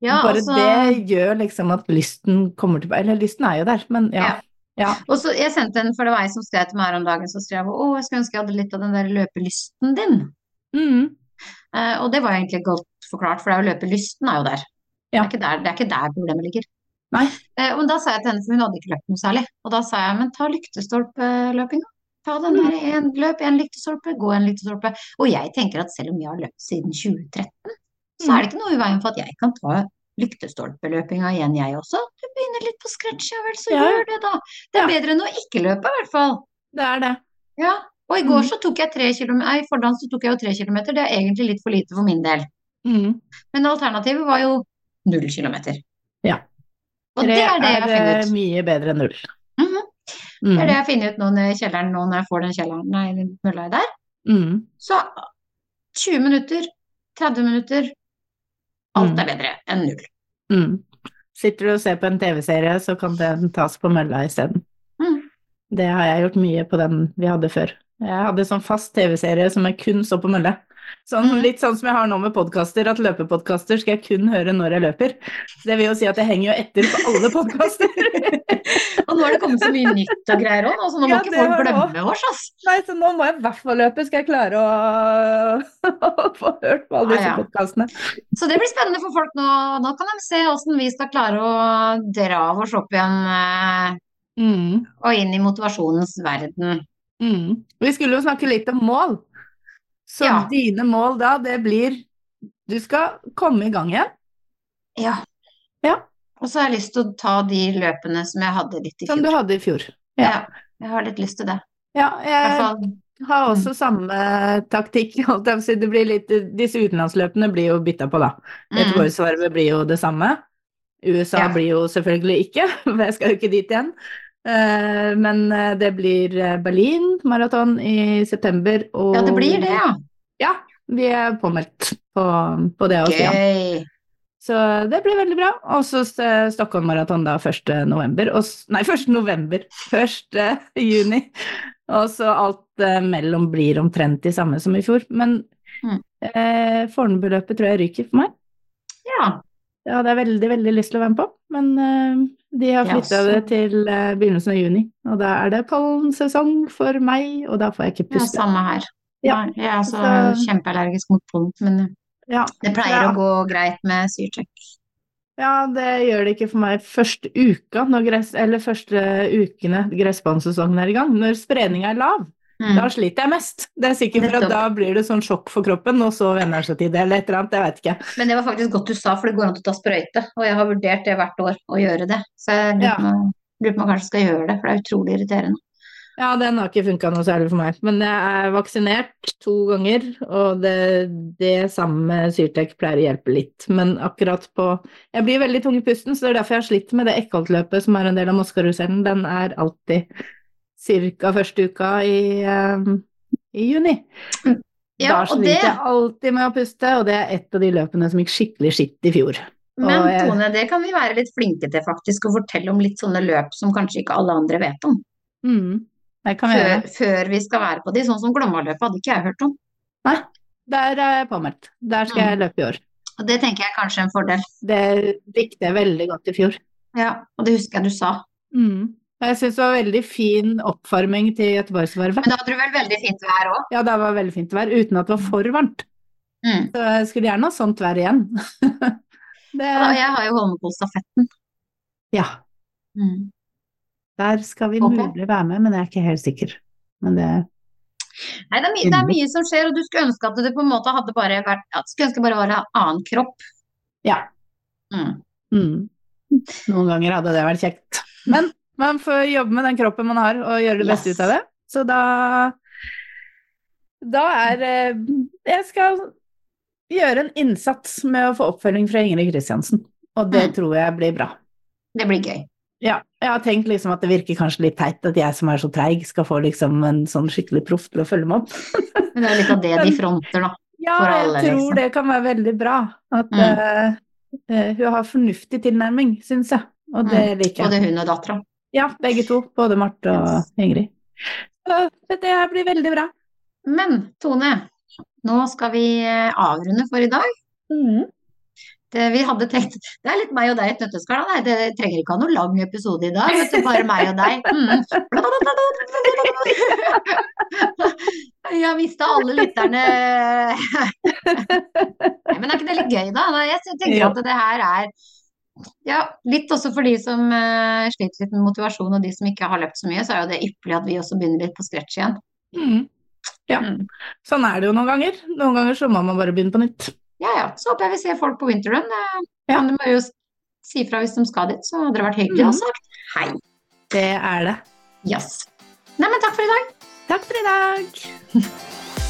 Speaker 2: Ja,
Speaker 3: bare
Speaker 2: altså,
Speaker 3: det gjør liksom at lysten kommer tilbake. Eller lysten er jo der, men ja.
Speaker 2: Og så jeg sendte en, for det var jeg som skrev til meg her om dagen, så skrev jeg å, jeg skulle ønske jeg hadde litt av den der løpelysten din.
Speaker 3: Mhm.
Speaker 2: Eh, og det var egentlig godt forklart, for det er jo løpelysten er jo der.
Speaker 3: Ja.
Speaker 2: Det, er ikke der det er ikke der problemet ligger.
Speaker 3: Nei.
Speaker 2: Eh, men da sa jeg til henne, for hun hadde ikke løpt noe særlig, og da sa jeg men ta lyktestolpeløpinga. Ta den
Speaker 3: Mm.
Speaker 2: der en løp, en lyktestolpe, gå en lyktestolpe. Og jeg tenker at selv om jeg har løpt siden 2013,
Speaker 3: Mm.
Speaker 2: så er det ikke noe i veien for at jeg kan ta lyktestolpeløpinga igjen, jeg også. Du begynner litt på scratch, ja vel, så
Speaker 3: Ja.
Speaker 2: gjør det, da. Det
Speaker 3: Ja.
Speaker 2: er bedre enn å ikke løpe, i hvert fall.
Speaker 3: Det er det.
Speaker 2: Ja, og i går
Speaker 3: Mm.
Speaker 2: så tok jeg tre kilometer, nei, i fordans så tok jeg jo tre kilometer, det er egentlig litt for lite for min del.
Speaker 3: Mhm.
Speaker 2: Men alternativet var jo null kilometer.
Speaker 3: Ja.
Speaker 2: Og det er det jeg har funnet ut.
Speaker 3: mye bedre enn null.
Speaker 2: Mhm.
Speaker 3: Mhm.
Speaker 2: Det er det jeg har funnet ut nå nede i kjelleren, nå når jeg får den kjelleren, nei, den mølla der.
Speaker 3: Mhm.
Speaker 2: Så 20 minutter, 30 minutter, alt
Speaker 3: Mm.
Speaker 2: er bedre enn null. Mm.
Speaker 3: Mhm. Sitter du og ser på en TV-serie, så kan den tas på mølla isteden.
Speaker 2: Mhm.
Speaker 3: Det har jeg gjort mye på den vi hadde før. Jeg hadde sånn fast TV-serie som jeg kun så på mølle. Sånn,
Speaker 2: Mhm.
Speaker 3: litt sånn som jeg har nå med podkaster, at løpepodkaster skal jeg kun høre når jeg løper. Så det vil jo si at jeg henger jo etter på alle podkaster.
Speaker 2: Og nå har det kommet så mye nytt og greier òg, så nå må
Speaker 3: Ja,
Speaker 2: ikke
Speaker 3: det
Speaker 2: folk
Speaker 3: har det også.
Speaker 2: glemme oss, ass.
Speaker 3: Nei, så nå må jeg i hvert fall løpe, skal jeg klare å, å få hørt på alle disse
Speaker 2: Ja, ja.
Speaker 3: podkastene.
Speaker 2: Så det blir spennende for folk nå. Nå kan de se åssen vi skal klare å dra oss opp igjen eh,
Speaker 3: Mhm.
Speaker 2: og inn i motivasjonens verden.
Speaker 3: Mm. Vi skulle jo snakke litt om mål. Så
Speaker 2: Ja.
Speaker 3: dine mål da, det blir Du skal komme i gang igjen,
Speaker 2: Ja.
Speaker 3: Ja.
Speaker 2: Og så har jeg lyst til å ta de løpene som jeg hadde litt i
Speaker 3: som
Speaker 2: fjor.
Speaker 3: du hadde i fjor.
Speaker 2: ja.
Speaker 3: ja. Eh,
Speaker 2: jeg har litt lyst til det.
Speaker 3: Ja,
Speaker 2: I hvert
Speaker 3: jeg
Speaker 2: fall. Mm.
Speaker 3: har også samme taktikk. holdt jeg på å si. Det blir litt, disse utenlandsløpene blir jo bytta på, da.
Speaker 2: Mm.
Speaker 3: Göteborgsvarvet blir jo det samme. USA
Speaker 2: Ja.
Speaker 3: blir jo selvfølgelig ikke, for jeg skal jo ikke dit igjen. Eh, Men eh, det blir eh, Berlin maraton i september, og
Speaker 2: Ja, det blir det, ja.
Speaker 3: vi er påmeldt på, på det også. Ja.
Speaker 2: Gøy.
Speaker 3: Så det blir veldig bra. Og så eh, Stockholm Marathon da 1. november. Og, s- nei, 1. november. 1. juni. Og så alt eh, mellom blir omtrent de samme som i fjor. Men
Speaker 2: Mm.
Speaker 3: eh, Fornebuløpet tror jeg ryker for meg.
Speaker 2: Ja.
Speaker 3: Det hadde jeg veldig, veldig lyst til å være med på. Men eh, de har
Speaker 2: Ja,
Speaker 3: flytta
Speaker 2: så-
Speaker 3: det til eh, begynnelsen av juni. Og da er det pollensesong for meg, og da får jeg ikke
Speaker 2: ja,
Speaker 3: puste.
Speaker 2: samme her.
Speaker 3: Ja.
Speaker 2: Nei, Jeg er så
Speaker 3: Så-
Speaker 2: kjempeallergisk mot pollen, men
Speaker 3: Ja,
Speaker 2: det pleier
Speaker 3: Ja.
Speaker 2: å gå greit med syrtrekk.
Speaker 3: Ja, det gjør det ikke for meg første uka, når gress, eller første ukene gressbanesesongen er i gang. Når spredninga er lav,
Speaker 2: Mm.
Speaker 3: da sliter jeg mest. Det er sikkert for
Speaker 2: Nettopp.
Speaker 3: at da blir det sånn sjokk for kroppen, og så venner seg til det, eller et eller annet, jeg veit ikke.
Speaker 2: Men det var faktisk godt du sa, for det går an å ta sprøyte. Og jeg har vurdert det hvert år, å gjøre det. Så jeg lurer
Speaker 3: Ja.
Speaker 2: på om- lurer på om jeg kanskje skal gjøre det, for det er utrolig irriterende.
Speaker 3: Ja, den har ikke funka noe særlig for meg. Men jeg er vaksinert to ganger, og det, det samme med Syrtec pleier å hjelpe litt. Men akkurat på Jeg blir veldig tung i pusten, så det er derfor jeg har slitt med det Eckholt-løpet som er en del av Moskarusselen. Den er alltid ca. første uka i, eh, i juni.
Speaker 2: Ja,
Speaker 3: da
Speaker 2: og
Speaker 3: sliter
Speaker 2: det,
Speaker 3: jeg alltid med å puste, og det er et av de løpene som gikk skikkelig skitt i fjor.
Speaker 2: men
Speaker 3: og jeg-
Speaker 2: Tone, det kan vi være litt flinke til faktisk, å fortelle om litt sånne løp som kanskje ikke alle andre vet om.
Speaker 3: Mm. Det kan vi gjøre.
Speaker 2: Før, før vi skal være på de, sånn som Glommaløpet hadde ikke jeg hørt om.
Speaker 3: Der er jeg påmeldt. Der skal
Speaker 2: Mm.
Speaker 3: jeg løpe i år.
Speaker 2: Og det tenker jeg er kanskje en fordel.
Speaker 3: Det likte jeg veldig godt i fjor.
Speaker 2: Ja, og det husker jeg du sa.
Speaker 3: Mm. Og jeg syns det var veldig fin oppvarming til Göteborgsvarvet.
Speaker 2: Men da hadde du vel veldig fint vær òg?
Speaker 3: Ja, det var veldig fint vær, uten at det var for varmt.
Speaker 2: Mm.
Speaker 3: Så jeg skulle gjerne ha sånt vær igjen. Det,
Speaker 2: Og jeg har jo Holmenkollstafetten.
Speaker 3: ja,
Speaker 2: Mm.
Speaker 3: der skal vi
Speaker 2: Håper jeg.
Speaker 3: mulig være med, men jeg er ikke helt sikker. Men det
Speaker 2: Nei, det er, mye, det er mye som skjer, og du skulle ønske at det på en måte hadde bare vært at du skulle ønske det bare var en annen kropp.
Speaker 3: Ja.
Speaker 2: Mm.
Speaker 3: mm. Noen ganger hadde det vært kjekt. Men man får jobbe med den kroppen man har, og gjøre det beste
Speaker 2: Yes.
Speaker 3: ut av det. Så da Da er eh, Jeg skal gjøre en innsats med å få oppfølging fra Ingrid Kristiansen, og det
Speaker 2: Mm.
Speaker 3: tror jeg blir bra.
Speaker 2: Det blir gøy.
Speaker 3: Ja, jeg har tenkt liksom at det virker kanskje litt teit at jeg som er så treig, skal få liksom en sånn skikkelig proff til å følge meg opp.
Speaker 2: Men det er jo litt av det de fronter, da.
Speaker 3: Ja,
Speaker 2: For alle,
Speaker 3: jeg tror
Speaker 2: liksom.
Speaker 3: det kan være veldig bra. At
Speaker 2: Mm.
Speaker 3: eh, eh, hun har fornuftig tilnærming, syns jeg. Mm. Og det liker jeg.
Speaker 2: Både hun og dattera.
Speaker 3: Ja, begge to. Både Marte og Ingrid. Så det her blir veldig bra.
Speaker 2: Men Tone, nå skal vi eh, avrunde for i dag.
Speaker 3: Mm.
Speaker 2: Det, vi hadde tenkt, det er litt meg og deg i et nøtteskall. da. Nei, det trenger ikke ha noen lang episode i dag. Vet du, bare meg og deg. Mm. Jeg har mista alle lytterne. Nei, men er ikke det litt gøy, da? Nei, Jeg sy- tenker at det her er ja, litt også for de som eh, sliter litt med motivasjon, og de som ikke har løpt så mye, så er jo det ypperlig at vi også begynner litt på scratch igjen.
Speaker 3: Mm. Ja.
Speaker 2: Mm.
Speaker 3: Sånn er det jo noen ganger. Noen ganger så må man bare begynne på nytt.
Speaker 2: Ja, ja. Så håper jeg vi ser folk på Winterrun. Eh,
Speaker 3: Ja.
Speaker 2: Men du må jo s- si fra hvis de skal dit, så hadde det vært hyggelig å ha sagt hei.
Speaker 3: Det er det.
Speaker 2: Yes. Nei, men takk for i dag.
Speaker 3: Takk for i dag.